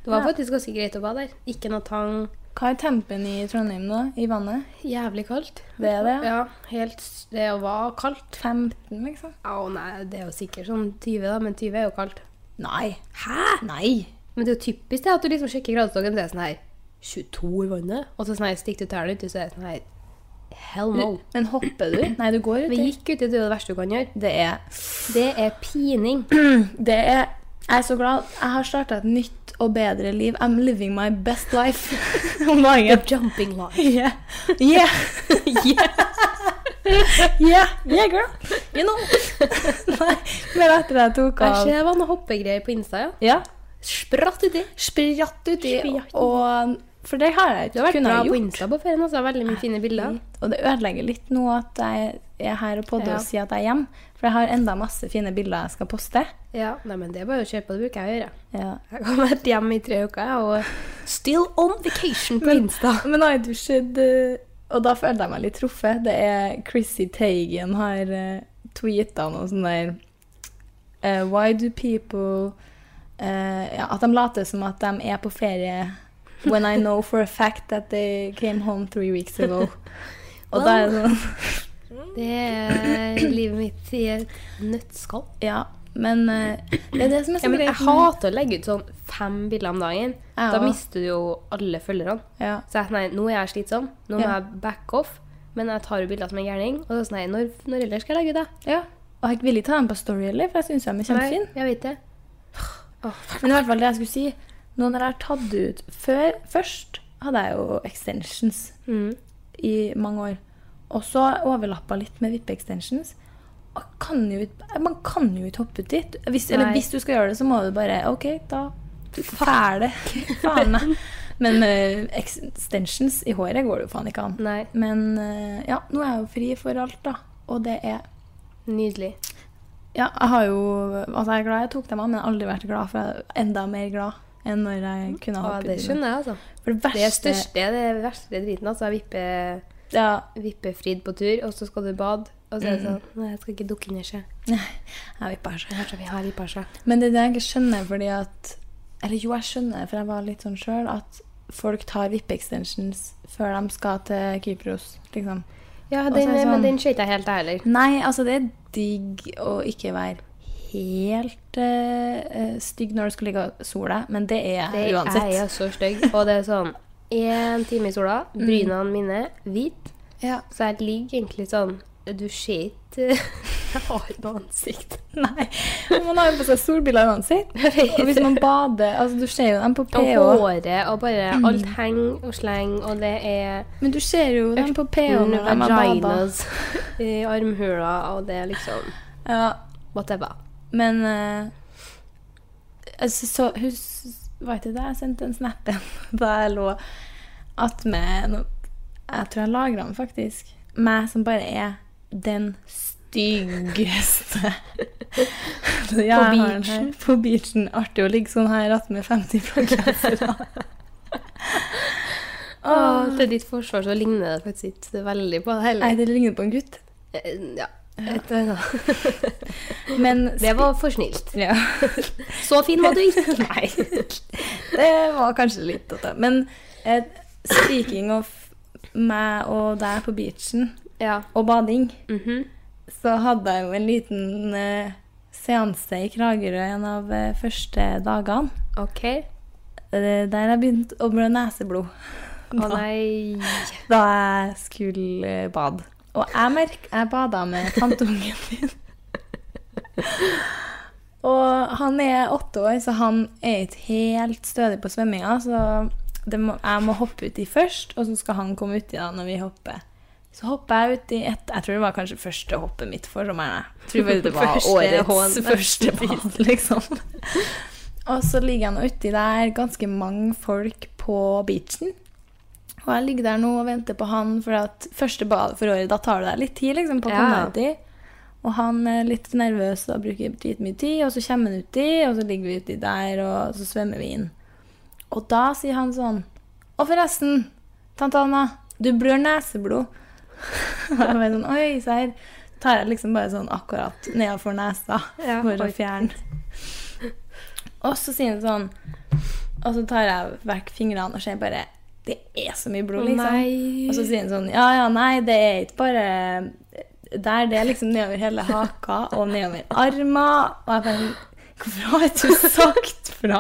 [SPEAKER 1] Det var
[SPEAKER 2] Ja.
[SPEAKER 1] faktisk ganske greit å være der. Ikke noe tang.
[SPEAKER 2] Hva er tempen i Trondheim nå? I vannet?
[SPEAKER 1] Jævlig kaldt.
[SPEAKER 2] Det er det? ja.
[SPEAKER 1] Ja, helt, s- det var kaldt.
[SPEAKER 2] 15, liksom?
[SPEAKER 1] Å nei, det er jo sikkert sånn 20, da, men 20 er jo kaldt.
[SPEAKER 2] Nei. Hæ? Nei.
[SPEAKER 1] Men det er jo typisk det at du liksom sjekker gradestokken, det er sånn her 22 i vannet, og så sånn her stikker du tærne uti, så er det sånn her Hell no.
[SPEAKER 2] Men hopper du? Nei, du går
[SPEAKER 1] Vi
[SPEAKER 2] uti.
[SPEAKER 1] gikk uti, det er jo det verste du kan gjøre.
[SPEAKER 2] Det er
[SPEAKER 1] Det er pining.
[SPEAKER 2] Det er Jeg er så glad. Jeg har starta et nytt og bedre liv. I'm living my best life om dagen.
[SPEAKER 1] Jumping line.
[SPEAKER 2] Yeah. Yeah. yeah. yeah. Yeah, girl. You know. Nei, men etter jeg tok
[SPEAKER 1] Jeg
[SPEAKER 2] av
[SPEAKER 1] ser det var noen hoppegreier på Insta, ja.
[SPEAKER 2] Ja.
[SPEAKER 1] Spratt uti.
[SPEAKER 2] Spratt uti.
[SPEAKER 1] Spratt.
[SPEAKER 2] Og um, For det har jeg
[SPEAKER 1] Du har
[SPEAKER 2] ikke
[SPEAKER 1] vært bra
[SPEAKER 2] kunnet
[SPEAKER 1] på
[SPEAKER 2] gjort. Mm.
[SPEAKER 1] Insta på ferien, altså. Veldig mye fine bilder.
[SPEAKER 2] Og det ødelegger litt nå at jeg er her og podder
[SPEAKER 1] Ja.
[SPEAKER 2] og sier at jeg er hjemme. For jeg har enda masse fine bilder jeg skal poste.
[SPEAKER 1] Ja, nei, men det er bare å kjøpe, det bruker jeg å gjøre.
[SPEAKER 2] Ja.
[SPEAKER 1] Jeg har vært hjemme i tre uker, jeg, og still on vacation på Insta.
[SPEAKER 2] Men har du sett eh, Og da følte jeg meg litt truffet. Det er Chrissy Teigen har uh, tweeta noe sånn der eh, Why do people eh, ja, At de later som at de er på ferie when I know for a fact that they came home three weeks ago. Og da er det sånn
[SPEAKER 1] Det er livet mitt i et nøttskall.
[SPEAKER 2] Ja. Men eh, det er det som er
[SPEAKER 1] Ja,
[SPEAKER 2] så
[SPEAKER 1] men jeg
[SPEAKER 2] greit.
[SPEAKER 1] hater å legge ut sånn fem bilder om dagen.
[SPEAKER 2] Jeg
[SPEAKER 1] Da
[SPEAKER 2] også.
[SPEAKER 1] mister du jo alle følgerne.
[SPEAKER 2] Ja.
[SPEAKER 1] Så jeg, er sånn, nei, nå er jeg slitsom, nå må
[SPEAKER 2] Ja.
[SPEAKER 1] jeg back off. Men jeg tar jo bilder som en gærning. Og så er jeg sånn, nei, når, når ellers skal jeg legge ut, da?
[SPEAKER 2] ja. Og jeg vil ikke ta dem på Story heller, for jeg syns de er
[SPEAKER 1] Nei,
[SPEAKER 2] kjempefine.
[SPEAKER 1] Jeg vet det.
[SPEAKER 2] Men i hvert fall det jeg skulle si, nå når jeg har tatt det ut før, Først hadde jeg jo extensions
[SPEAKER 1] Mm.
[SPEAKER 2] i mange år. Og så overlappa litt med vippe-extensions. Og Kan jo, ikke- man kan jo ikke hoppe ut dit. Hvis, eller
[SPEAKER 1] Nei.
[SPEAKER 2] hvis du skal gjøre det, så må du bare OK, da fæl det. Faen meg. Men eh, extensions i håret går det jo faen ikke an.
[SPEAKER 1] Nei.
[SPEAKER 2] Men eh, ja, nå er jeg jo fri for alt, da. Og det er
[SPEAKER 1] Nydelig.
[SPEAKER 2] Ja, jeg har jo Altså, jeg er glad jeg tok dem av, men jeg har aldri vært glad, for jeg er enda mer glad enn når jeg kunne
[SPEAKER 1] Mm.
[SPEAKER 2] ha
[SPEAKER 1] Ja,
[SPEAKER 2] hoppet
[SPEAKER 1] det
[SPEAKER 2] ut.
[SPEAKER 1] skjønner jeg, altså.
[SPEAKER 2] For det
[SPEAKER 1] Det er
[SPEAKER 2] verste
[SPEAKER 1] største, det er verste driten. altså. Jeg vipper,
[SPEAKER 2] ja,
[SPEAKER 1] vipper Frid på tur, og så skal du bade. Og så er det sånn Nei, jeg skal ikke dukke under seg.
[SPEAKER 2] jeg vil bare se.
[SPEAKER 1] Kanskje sånn vi har vippa seg.
[SPEAKER 2] Men det er det jeg ikke skjønner, fordi at Eller jo, jeg skjønner, for jeg var litt sånn sjøl, at folk tar vippe-extensions før de skal til Kypros, liksom.
[SPEAKER 1] Ja,
[SPEAKER 2] Og så
[SPEAKER 1] den, eh,
[SPEAKER 2] er det sånn-
[SPEAKER 1] men den skøyt jeg helt, jeg heller.
[SPEAKER 2] Nei, altså, det er digg å ikke være helt eh, eh, stygg når du skal ligge og sole, men det er
[SPEAKER 1] Det
[SPEAKER 2] jeg uansett.
[SPEAKER 1] er jeg så stygg. Og det er sånn én time i sola, brynene mine hvit,
[SPEAKER 2] Ja.
[SPEAKER 1] så jeg ligger egentlig sånn Du ser ikke Jeg har ikke noe ansikt.
[SPEAKER 2] Nei. men Man har jo på seg solbriller uansett. Og hvis man bader altså Du ser jo dem på
[SPEAKER 1] Og
[SPEAKER 2] PH.
[SPEAKER 1] håret og bare Alt henger og slenger, og det er
[SPEAKER 2] Men du ser jo dem på PH når
[SPEAKER 1] Mm,
[SPEAKER 2] de har badet.
[SPEAKER 1] vaginas i armhula, og det er liksom
[SPEAKER 2] Ja,
[SPEAKER 1] Whatever.
[SPEAKER 2] men eh, altså, så, hus, Var ikke det jeg sendte en snap igjen da jeg lå attmed no- Jeg tror jeg lagra den, faktisk. Meg som bare er den styggeste Så jeg har den her.
[SPEAKER 1] beachen.
[SPEAKER 2] På beachen. Artig å ligge sånn her attmed 50 plaggensere.
[SPEAKER 1] Og til ditt forsvar så ligner det faktisk ikke veldig på det
[SPEAKER 2] Ah. Nei,
[SPEAKER 1] heller.
[SPEAKER 2] det ligner på en gutt.
[SPEAKER 1] Eh, Ja. Et eller annet.
[SPEAKER 2] Men
[SPEAKER 1] Det var for snilt.
[SPEAKER 2] Ja.
[SPEAKER 1] Så fin var du ikke.
[SPEAKER 2] Nei. Det var kanskje litt å ta. Men eh, speaking of meg og deg på beachen
[SPEAKER 1] Ja.
[SPEAKER 2] og bading,
[SPEAKER 1] Mhm.
[SPEAKER 2] så hadde jeg jo en liten eh, seanse i Kragerø en av eh, første dagene.
[SPEAKER 1] OK.
[SPEAKER 2] Eh, der jeg begynte å blø neseblod
[SPEAKER 1] Å nei.
[SPEAKER 2] da jeg skulle eh, bade. Og jeg merk, jeg bada med tanteungen min. Og han er åtte år, så han er ikke helt stødig på svømminga. Så det må, jeg må hoppe uti først, og så skal han komme uti da når vi hopper. Så hopper jeg uti et Jeg tror det var kanskje første hoppet mitt for sommeren. Jeg tror bare det var
[SPEAKER 1] Første
[SPEAKER 2] årets
[SPEAKER 1] hån.
[SPEAKER 2] første bad, liksom. Og så ligger han uti der, ganske mange folk på beachen. Og jeg ligger der nå og venter på han, for at første bad for året, da tar det deg litt tid liksom, på å komme
[SPEAKER 1] Ja.
[SPEAKER 2] uti. Og han er litt nervøs og bruker dritmye tid, og så kommer han uti, og så ligger vi uti der, og så svømmer vi inn. Og da sier han sånn Og forresten, tante Anna, du blør neseblod. Og jeg bare sånn Oi, serr. Så tar jeg liksom bare sånn akkurat nedafor nesa
[SPEAKER 1] Ja,
[SPEAKER 2] for å
[SPEAKER 1] oi.
[SPEAKER 2] fjerne. Og så sier han sånn Og så tar jeg vekk fingrene og ser bare Det er så mye blod, liksom.
[SPEAKER 1] Nei.
[SPEAKER 2] Og så sier han sånn Ja, ja, nei, det er ikke bare eh, der. Det er liksom nedover hele haka og nedover armer. Og jeg bare Hvorfor har ikke du sagt fra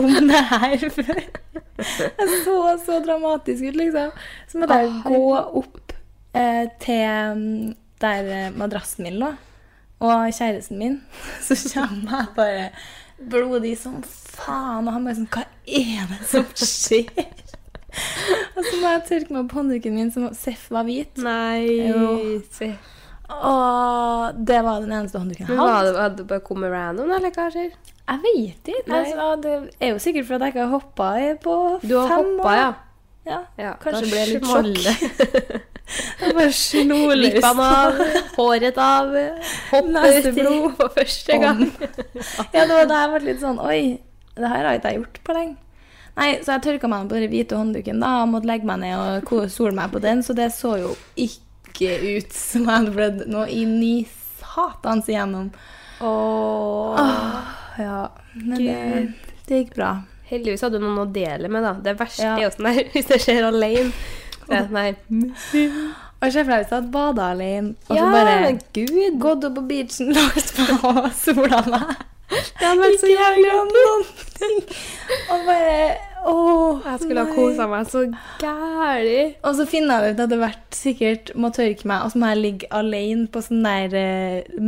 [SPEAKER 2] om det her før? Jeg så så dramatisk ut, liksom. Så måtte jeg
[SPEAKER 1] Å,
[SPEAKER 2] gå opp eh, til mm, der eh, madrassen min lå, og kjæresten min. Så kommer jeg bare blodig som faen, og han bare sånn Hva er det som skjer? Og så må jeg tørke meg på håndduken min, som Seff var hvit. Jo.
[SPEAKER 1] Nei. Se.
[SPEAKER 2] Og det var den eneste håndduken jeg
[SPEAKER 1] Men var
[SPEAKER 2] hadde.
[SPEAKER 1] det, hadde det bare kommet random, eller hva skjer?
[SPEAKER 2] Jeg vet ikke.
[SPEAKER 1] Nei.
[SPEAKER 2] Altså, det er jo sikkert fordi jeg ikke har hoppa i på
[SPEAKER 1] Du har
[SPEAKER 2] fem
[SPEAKER 1] hoppa,
[SPEAKER 2] år.
[SPEAKER 1] ja.
[SPEAKER 2] ja.
[SPEAKER 1] ja.
[SPEAKER 2] Kanskje
[SPEAKER 1] da
[SPEAKER 2] det ble litt
[SPEAKER 1] smalt
[SPEAKER 2] sjokk.
[SPEAKER 1] det.
[SPEAKER 2] Jeg bare slo løs.
[SPEAKER 1] Lippene av, håret av, hoppet uti
[SPEAKER 2] Neseblod.
[SPEAKER 1] for første gang.
[SPEAKER 2] Ja, det var da jeg ble litt sånn Oi, det her har ikke jeg gjort på lenge. Nei, Så jeg tørka meg på den hvite håndduken da, og måtte legge meg ned og ko- sole meg på den, så det så jo ikke ut som jeg hadde blødd noe inn i satans igjennom. Åh, ja. Men det,
[SPEAKER 1] Gud.
[SPEAKER 2] det gikk bra.
[SPEAKER 1] Heldigvis hadde du noen å dele med, da. Det verste
[SPEAKER 2] Ja.
[SPEAKER 1] er jo sånn der hvis det skjer alene. Så er jeg sånn her,
[SPEAKER 2] Og jeg ser for meg hvis jeg hadde bada alene, og
[SPEAKER 1] Ja,
[SPEAKER 2] så bare
[SPEAKER 1] men gud.
[SPEAKER 2] gått opp på beachen, lagt meg og sola meg.
[SPEAKER 1] Det hadde vært så jævlig
[SPEAKER 2] om noen ting. Og bare åh,
[SPEAKER 1] Jeg skulle ha
[SPEAKER 2] nei.
[SPEAKER 1] kosa meg så gæli.
[SPEAKER 2] Og så finner jeg ut at det vært sikkert må tørke meg, og så må jeg ligge alene på sånn der eh,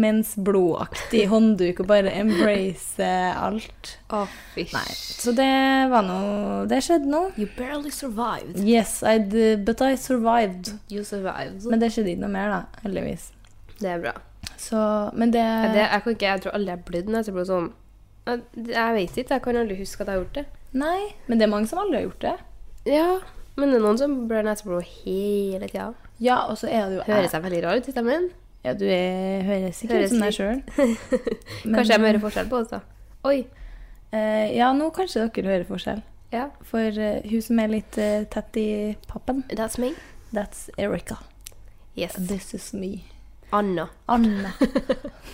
[SPEAKER 2] mensblodaktig håndduk og bare embrace eh, alt.
[SPEAKER 1] Å, fy.
[SPEAKER 2] Nei, så det var noe Det skjedde nå.
[SPEAKER 1] You barely survived.
[SPEAKER 2] Yes, I did, but I survived.
[SPEAKER 1] You survived.
[SPEAKER 2] Men det skjedde ikke noe mer, da, heldigvis.
[SPEAKER 1] det er bra.
[SPEAKER 2] Så, men det,
[SPEAKER 1] Ja, det, jeg, kan ikke, jeg tror aldri jeg har blødd når jeg ser på sånn. Jeg, jeg vet ikke. Jeg kan aldri huske at jeg har gjort det.
[SPEAKER 2] Nei, men det er mange som aldri har gjort det.
[SPEAKER 1] Ja, men det er noen som blør neseblod hele tida.
[SPEAKER 2] Ja, og så er det jo
[SPEAKER 1] Hører seg veldig rar ut i stemmen.
[SPEAKER 2] Ja, du er, høres sikkert
[SPEAKER 1] Høres
[SPEAKER 2] ut som deg
[SPEAKER 1] litt-
[SPEAKER 2] sjøl.
[SPEAKER 1] Kanskje jeg må høre forskjell på oss, da. Oi.
[SPEAKER 2] Eh, ja, nå kanskje dere hører forskjell.
[SPEAKER 1] Ja,
[SPEAKER 2] For eh, hun som er litt eh, tett i pappen,
[SPEAKER 1] that's me.
[SPEAKER 2] that's Erica.
[SPEAKER 1] Yes.
[SPEAKER 2] This is me.
[SPEAKER 1] Anna.
[SPEAKER 2] Anne.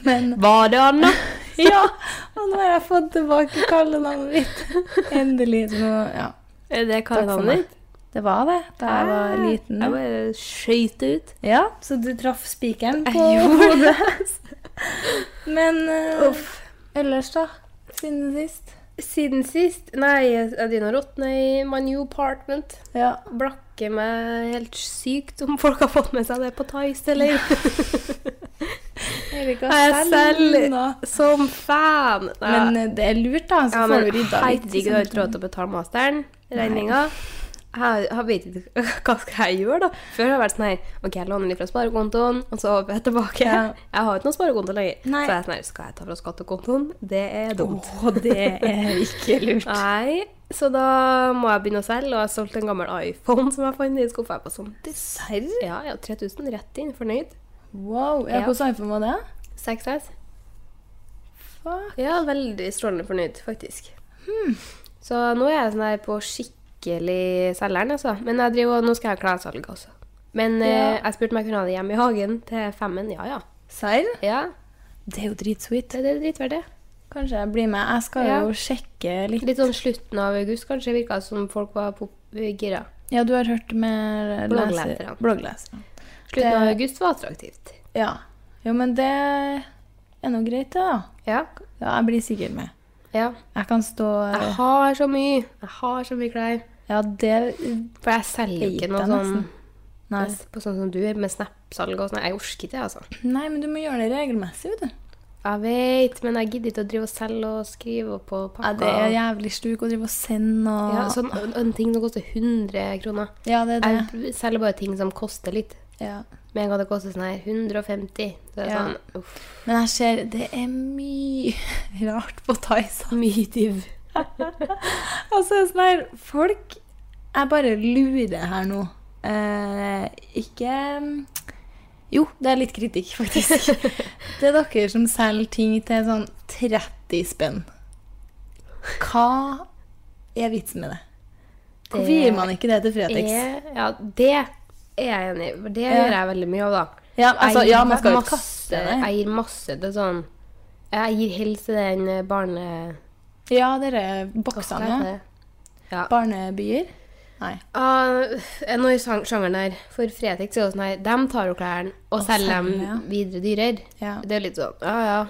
[SPEAKER 2] Men
[SPEAKER 1] Var det Anna?
[SPEAKER 2] Ja! Og nå har jeg fått tilbake kallenavnet mitt. Endelig. Så nå, ja.
[SPEAKER 1] Er det
[SPEAKER 2] Takk for meg.
[SPEAKER 1] kallenavnet ditt? Ah.
[SPEAKER 2] Det var det da jeg var liten.
[SPEAKER 1] Jeg bare skøyt det ut.
[SPEAKER 2] Ja, så du traff spikeren på
[SPEAKER 1] Jeg
[SPEAKER 2] hodet. Men eh, ellers, da? Siden sist?
[SPEAKER 1] Siden sist Nei, Adina råtna i my new apartment.
[SPEAKER 2] Ja.
[SPEAKER 1] Blakker meg helt sykt om folk har fått med seg det på Tice, eller?
[SPEAKER 2] Erika
[SPEAKER 1] Jeg er selv-
[SPEAKER 2] nå.
[SPEAKER 1] Som fan! Nei.
[SPEAKER 2] Men eh, det er lurt, da. Så
[SPEAKER 1] ja,
[SPEAKER 2] får
[SPEAKER 1] men
[SPEAKER 2] du rydda litt. liksom.
[SPEAKER 1] herregud, jeg har ikke råd til å betale masteren. Regninga. Jeg, jeg vet ikke Hva skal jeg gjøre, da? Før har jeg vært sånn her OK, jeg låner litt fra sparekontoen, og så håper jeg tilbake.
[SPEAKER 2] Ja.
[SPEAKER 1] Jeg har ikke noen sparekonto lenger.
[SPEAKER 2] Nei. Oh.
[SPEAKER 1] Så jeg er sånn her Skal jeg ta fra skattekontoen? Det er dumt.
[SPEAKER 2] Å, det er ikke lurt.
[SPEAKER 1] Nei, så da må jeg begynne å selge, og jeg har solgt en gammel iPhone som jeg fant i skuffa. Jeg var sånn,
[SPEAKER 2] Serr?
[SPEAKER 1] Ja, ja, 3000 rett inn. Fornøyd.
[SPEAKER 2] Wow. Ja,
[SPEAKER 1] Ja.
[SPEAKER 2] Hvordan iPhone var det?
[SPEAKER 1] 6S.
[SPEAKER 2] Fuck.
[SPEAKER 1] Ja, veldig strålende fornøyd, faktisk. Hmm. Så nå er jeg sånn her på skikkelig selgeren, altså. Men jeg driver, og- nå skal jeg ha klessalg også. Men eh,
[SPEAKER 2] Ja.
[SPEAKER 1] jeg spurte om jeg kunne ha det hjemme i hagen til femmen. Ja, ja.
[SPEAKER 2] Serr?
[SPEAKER 1] Ja,
[SPEAKER 2] Det er jo dritsweet.
[SPEAKER 1] det, det er dritverdt det.
[SPEAKER 2] Kanskje jeg blir med. Jeg skal
[SPEAKER 1] Ja.
[SPEAKER 2] jo sjekke litt.
[SPEAKER 1] Litt sånn slutten av august, kanskje, virka som folk var på gira.
[SPEAKER 2] Ja, du har hørt med
[SPEAKER 1] Bloggleserne.
[SPEAKER 2] bloggleserne.
[SPEAKER 1] Slutten av
[SPEAKER 2] Det-
[SPEAKER 1] august var attraktivt.
[SPEAKER 2] Ja. Jo, men det er nå greit, det, da.
[SPEAKER 1] Ja.
[SPEAKER 2] Ja, jeg blir sikkert med.
[SPEAKER 1] ja.
[SPEAKER 2] Jeg kan stå
[SPEAKER 1] Jeg har så mye. Jeg har så mye klær.
[SPEAKER 2] Ja, det
[SPEAKER 1] For jeg selger jo
[SPEAKER 2] Vet
[SPEAKER 1] ikke noe
[SPEAKER 2] jeg
[SPEAKER 1] sånn
[SPEAKER 2] nesten. Nei.
[SPEAKER 1] på sånn som du er med Snap-salg og sånn. Jeg orker ikke det, altså.
[SPEAKER 2] Nei, men du må gjøre det regelmessig, vet du.
[SPEAKER 1] Jeg vet, men jeg gidder ikke å drive og selge og skrive og på
[SPEAKER 2] Ja,
[SPEAKER 1] pakker.
[SPEAKER 2] det er jævlig stuk å drive og sende og
[SPEAKER 1] Ja, sånn, en, en ting som koster 100 kroner.
[SPEAKER 2] Ja, det er det.
[SPEAKER 1] Jeg selger bare ting som koster litt.
[SPEAKER 2] Ja.
[SPEAKER 1] Med en gang det koster sånn her 150, så er det
[SPEAKER 2] Ja.
[SPEAKER 1] sånn uff,
[SPEAKER 2] Men jeg ser det er mye rart på Thaisa.
[SPEAKER 1] mye div.
[SPEAKER 2] Altså, sånn her Folk Jeg bare lurer her nå. Eh, ikke Jo, det er litt kritikk, faktisk. det er dere som selger ting til sånn 30 spenn. Hva er vitsen med det? Hvorfor
[SPEAKER 1] Det
[SPEAKER 2] gir man ikke det til Fretex?
[SPEAKER 1] Er, ja, det er jeg enig i. for Det
[SPEAKER 2] Ja.
[SPEAKER 1] gjør jeg veldig mye av, da.
[SPEAKER 2] Ja, altså,
[SPEAKER 1] Jeg gir
[SPEAKER 2] ja, man skal jo
[SPEAKER 1] masse-
[SPEAKER 2] ikke kaste det.
[SPEAKER 1] Jeg gir masse til sånn Jeg gir helst til den eh, barne...
[SPEAKER 2] Ja, dere
[SPEAKER 1] hva skal jeg
[SPEAKER 2] boksene.
[SPEAKER 1] hete? Ja.
[SPEAKER 2] Barnebyer. Nei.
[SPEAKER 1] Uh, noe i sang- sjangeren der. For Fretex er jo sånn her De tar jo klærne og
[SPEAKER 2] Og
[SPEAKER 1] selger dem
[SPEAKER 2] selger, ja.
[SPEAKER 1] videre dyrere.
[SPEAKER 2] Ja.
[SPEAKER 1] Det er jo litt sånn Ja ja,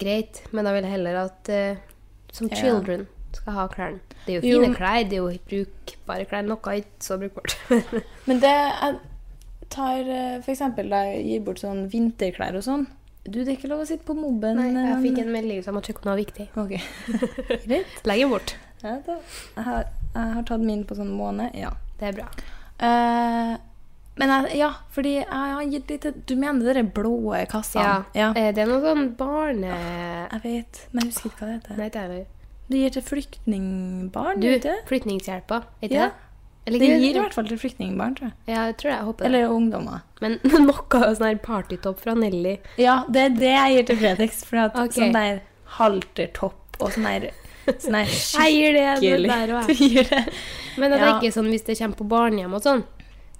[SPEAKER 1] greit, men da vil jeg heller at eh, som
[SPEAKER 2] Ja.
[SPEAKER 1] children skal ha klærne. Det er jo
[SPEAKER 2] Jo,
[SPEAKER 1] fine
[SPEAKER 2] men-
[SPEAKER 1] klær, det er jo brukbare klær. Noe er ikke så brukbart. ja,
[SPEAKER 2] Men det jeg tar eh, For eksempel da jeg gir bort sånn vinterklær og sånn. Du, det er ikke lov å sitte på mobben.
[SPEAKER 1] Nei, jeg
[SPEAKER 2] eh,
[SPEAKER 1] fikk en melding så jeg må sjekke om det var viktig.
[SPEAKER 2] Ok. Greit.
[SPEAKER 1] Legg den bort.
[SPEAKER 2] Ja, da. Jeg, har, jeg har tatt min på sånn måned. Ja.
[SPEAKER 1] Det er bra.
[SPEAKER 2] Eh, men jeg, ja, fordi jeg har gitt litt Du mener de blå kassene?
[SPEAKER 1] Ja. Eh, det er noe sånn barne...
[SPEAKER 2] Jeg vet, men jeg husker ikke hva det heter.
[SPEAKER 1] Nei, det er det.
[SPEAKER 2] Du gir til flyktningbarn?
[SPEAKER 1] Du,
[SPEAKER 2] gjør det?
[SPEAKER 1] Flyktninghjelpa, er ikke
[SPEAKER 2] Ja.
[SPEAKER 1] det?
[SPEAKER 2] Det
[SPEAKER 1] Eller ikke?
[SPEAKER 2] gir i hvert fall til flyktningbarn, tror jeg.
[SPEAKER 1] Ja, jeg tror det. Jeg håper det.
[SPEAKER 2] Eller ungdommer.
[SPEAKER 1] Men noe av sånn her partytopp fra Nelly.
[SPEAKER 2] Ja, det er det jeg gir til Fretex. For at
[SPEAKER 1] Ok.
[SPEAKER 2] sånn der haltertopp og sånn der, sånn der
[SPEAKER 1] Jeg gir det, det
[SPEAKER 2] skikkelig
[SPEAKER 1] der også, jeg.
[SPEAKER 2] dyre
[SPEAKER 1] Men at det
[SPEAKER 2] Ja.
[SPEAKER 1] ikke er sånn hvis det kommer på barnehjem og sånn,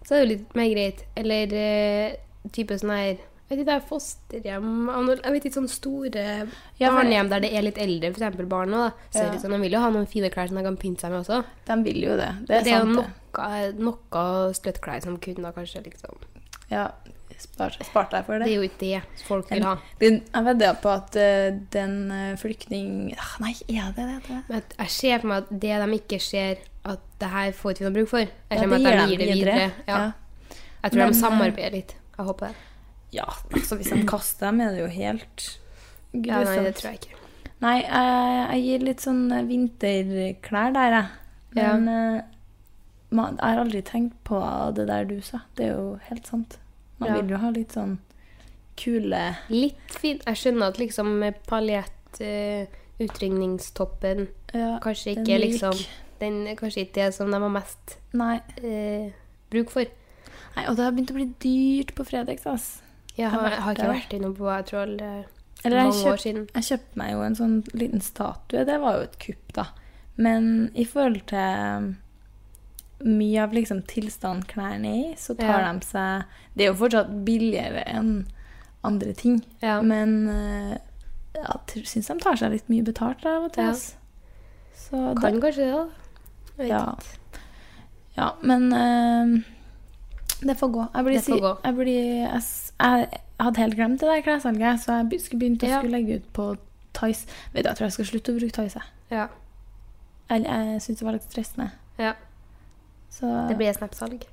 [SPEAKER 1] så er det jo litt mer greit. Eller eh, type sånn her jeg vet ikke, det er fosterhjem av noe- Jeg vet ikke, sånne store
[SPEAKER 2] Ja, for-
[SPEAKER 1] barnehjem der det er litt eldre, f.eks. barn også, da. Så er det litt sånn, De vil jo ha noen fine klær som de kan pynte seg med også.
[SPEAKER 2] De vil jo det. Det er,
[SPEAKER 1] det er jo eh,
[SPEAKER 2] sant, det.
[SPEAKER 1] noe, noe støttklær som kunne da kanskje liksom
[SPEAKER 2] Ja, spart.
[SPEAKER 4] Spart deg for
[SPEAKER 1] Det
[SPEAKER 4] det.
[SPEAKER 1] er jo ikke det folk vil ha.
[SPEAKER 2] Den, jeg vedder på at eh, den eh, flyktning... Ah, nei, er det det? det?
[SPEAKER 1] Men at jeg ser for meg at det de ikke ser at det her får ikke vi noe bruk for, jeg
[SPEAKER 2] Ja,
[SPEAKER 1] ser for meg at de
[SPEAKER 2] gir
[SPEAKER 1] gir det
[SPEAKER 2] dem
[SPEAKER 1] videre. Ja.
[SPEAKER 2] Ja.
[SPEAKER 1] Jeg tror
[SPEAKER 2] Men,
[SPEAKER 1] de samarbeider litt. Jeg håper det.
[SPEAKER 2] Ja, altså hvis de kaster dem, er det jo helt grusomt.
[SPEAKER 1] Ja, nei, det tror jeg ikke.
[SPEAKER 2] Nei, jeg, jeg gir litt sånn vinterklær der, jeg.
[SPEAKER 1] Ja.
[SPEAKER 2] Men eh, man, jeg har aldri tenkt på det der du sa. Det er jo helt sant. Man
[SPEAKER 1] Ja.
[SPEAKER 2] vil jo ha litt sånn kule
[SPEAKER 1] Litt fint. Jeg skjønner at liksom med paljett, eh, utringningstoppen
[SPEAKER 2] ja,
[SPEAKER 1] kanskje
[SPEAKER 2] den
[SPEAKER 1] ikke
[SPEAKER 2] lik.
[SPEAKER 1] liksom Den er kanskje ikke det som de har mest
[SPEAKER 2] Nei.
[SPEAKER 1] eh, bruk for.
[SPEAKER 2] Nei, og det har begynt å bli dyrt på Fredriksas.
[SPEAKER 1] Jeg har, jeg har ikke
[SPEAKER 2] der.
[SPEAKER 1] vært innom på jeg tror aldri,
[SPEAKER 2] Eller jeg
[SPEAKER 1] mange
[SPEAKER 2] kjøpte
[SPEAKER 1] år siden.
[SPEAKER 2] Jeg kjøpte meg jo en sånn liten statue. Det var jo et kupp, da. Men i forhold til mye av liksom tilstanden klærne er i, så tar
[SPEAKER 1] Ja.
[SPEAKER 2] de seg Det er jo fortsatt billigere enn andre ting,
[SPEAKER 1] Ja.
[SPEAKER 2] men eh, jeg syns de tar seg litt mye betalt av og til.
[SPEAKER 1] Ja.
[SPEAKER 2] ass. Så det,
[SPEAKER 1] Kan kanskje det, da. Jeg vet
[SPEAKER 2] ja.
[SPEAKER 1] ikke.
[SPEAKER 2] ja, men eh, det får gå. Jeg, blir,
[SPEAKER 1] Det får
[SPEAKER 2] si-
[SPEAKER 1] gå.
[SPEAKER 2] jeg, blir, jeg, s- jeg hadde helt glemt det der klessalget, så jeg be- skulle begynt å
[SPEAKER 1] Ja.
[SPEAKER 2] skulle legge ut på Tice. Vet du, Jeg tror jeg skal slutte å bruke Tice. jeg.
[SPEAKER 1] Ja.
[SPEAKER 2] Jeg, jeg syns det var litt stressende.
[SPEAKER 1] Ja.
[SPEAKER 2] Så,
[SPEAKER 1] Det blir snapsalg.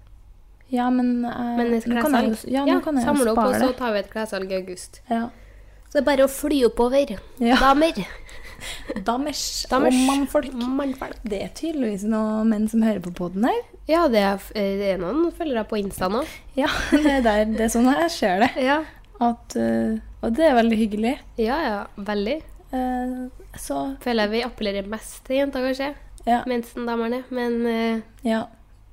[SPEAKER 2] ja, men, eh,
[SPEAKER 1] Men det er
[SPEAKER 2] nå kan jeg jo,
[SPEAKER 1] klessalg.
[SPEAKER 2] ja,
[SPEAKER 1] Ja,
[SPEAKER 2] nå kan jeg
[SPEAKER 1] samle
[SPEAKER 2] jo
[SPEAKER 1] opp, og
[SPEAKER 2] spare
[SPEAKER 1] så
[SPEAKER 2] det.
[SPEAKER 1] tar vi et klessalg i august.
[SPEAKER 2] Ja.
[SPEAKER 1] Så det er bare å fly oppover,
[SPEAKER 2] Ja.
[SPEAKER 1] damer.
[SPEAKER 2] Damers,
[SPEAKER 1] Damers.
[SPEAKER 2] og mannfolk.
[SPEAKER 1] Mm.
[SPEAKER 2] Det er tydeligvis noen menn som hører på poden her.
[SPEAKER 1] Ja, det er, eh, det er noen følgere på Insta nå.
[SPEAKER 2] Ja, det er, der, det er sånn jeg ser det.
[SPEAKER 1] Ja.
[SPEAKER 2] At, eh, og det er veldig hyggelig.
[SPEAKER 1] ja, ja, veldig.
[SPEAKER 2] Eh, så
[SPEAKER 1] Føler jeg vi appellerer mest til jenter, kanskje.
[SPEAKER 2] Ja.
[SPEAKER 1] Mens den damerne. Men eh,
[SPEAKER 2] Ja,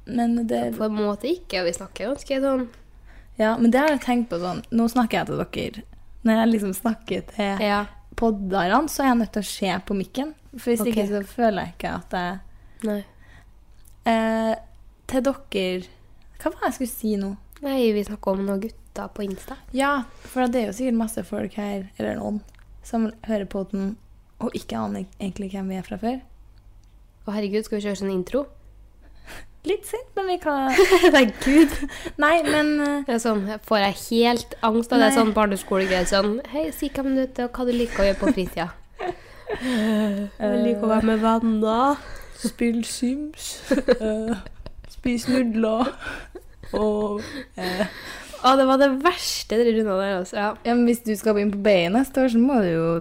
[SPEAKER 2] men det,
[SPEAKER 1] på en måte ikke. og Vi snakker ganske sånn.
[SPEAKER 2] ja, men det har jeg tenkt på sånn. Nå snakker jeg til dere. Når jeg liksom snakker til
[SPEAKER 1] Ja.
[SPEAKER 2] podderne, så er jeg nødt til å se på mikken. For hvis
[SPEAKER 1] Ok.
[SPEAKER 2] ikke så føler jeg ikke at jeg
[SPEAKER 1] Nei.
[SPEAKER 2] eh, Til dere Hva var det jeg skulle si nå?
[SPEAKER 1] Nei, vi snakker om noen gutter på Insta.
[SPEAKER 2] Ja, for det er jo sikkert masse folk her, eller noen, som hører på den og ikke aner egentlig hvem vi er fra før.
[SPEAKER 1] Å, herregud, skal vi kjøre sånn intro?
[SPEAKER 2] Litt sent, men vi kan
[SPEAKER 1] Nei, gud.
[SPEAKER 2] Nei, men eh,
[SPEAKER 1] Det er sånn, får jeg helt angst av det
[SPEAKER 2] Nei.
[SPEAKER 1] sånn barneskolegreier. Sånn, hei, si hvem du er, og hva du liker å gjøre på fritida.
[SPEAKER 4] Jeg liker å være med venner.
[SPEAKER 2] Spill Sims. eh, spis nudler. Og eh,
[SPEAKER 1] Å, det var det verste dere runda der, altså. Ja.
[SPEAKER 2] Ja, men Hvis du skal begynne på BI neste år, så må du jo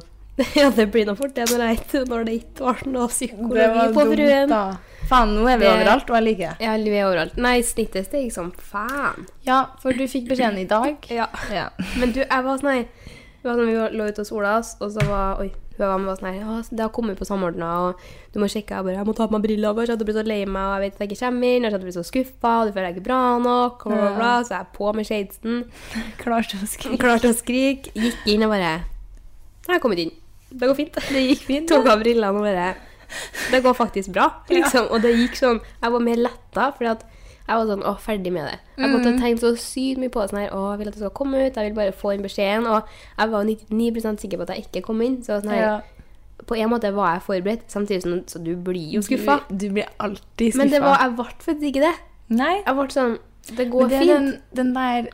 [SPEAKER 1] ja, det blir nå fort det når jeg ikke- når det ikke var noe psykologi på fruen.
[SPEAKER 2] da. Faen, nå er vi
[SPEAKER 1] Det-
[SPEAKER 2] overalt, og jeg liker det.
[SPEAKER 1] Ja, vi er overalt. Nei, snittet steg som faen.
[SPEAKER 2] Ja, for du fikk beskjeden i dag.
[SPEAKER 1] Ja.
[SPEAKER 2] Ja.
[SPEAKER 1] Men du, jeg var sånn her det var sånn, Vi var- lå ute og sola oss, og så var Oi, hun jeg var med, var sånn her «Ja, Det har kommet på Samordna, og du må sjekke. Jeg bare Jeg må ta på meg brillene, for jeg hadde blitt så lei meg, og jeg vet at jeg ikke kommer inn, og jeg hadde blitt så skuffa, og du føler deg ikke bra nok, og bla, bla, bla. Så jeg er på med shadesen.
[SPEAKER 2] Klar til å skrive.
[SPEAKER 1] Klarte å skrike. Gikk inn og bare Jeg har kommet inn. Det går fint.
[SPEAKER 2] Det gikk fint.
[SPEAKER 1] tok av brillene og bare Det går faktisk bra, liksom. Og det gikk sånn Jeg var mer letta, fordi at jeg var sånn Å, ferdig med det. Jeg måtte ha tenkt så sykt mye på det. Sånn her, å, jeg vil at det skal komme ut, jeg vil bare få inn beskjeden. Og jeg var 99 sikker på at jeg ikke kom inn. Så sånn her,
[SPEAKER 2] Ja.
[SPEAKER 1] på en måte var jeg forberedt, samtidig som Så du blir jo skuffa.
[SPEAKER 2] Du, du blir alltid skuffa.
[SPEAKER 1] Men det var, jeg ble faktisk ikke det.
[SPEAKER 2] Nei,
[SPEAKER 1] Jeg ble sånn Det går
[SPEAKER 2] men det er
[SPEAKER 1] fint.
[SPEAKER 2] den, den der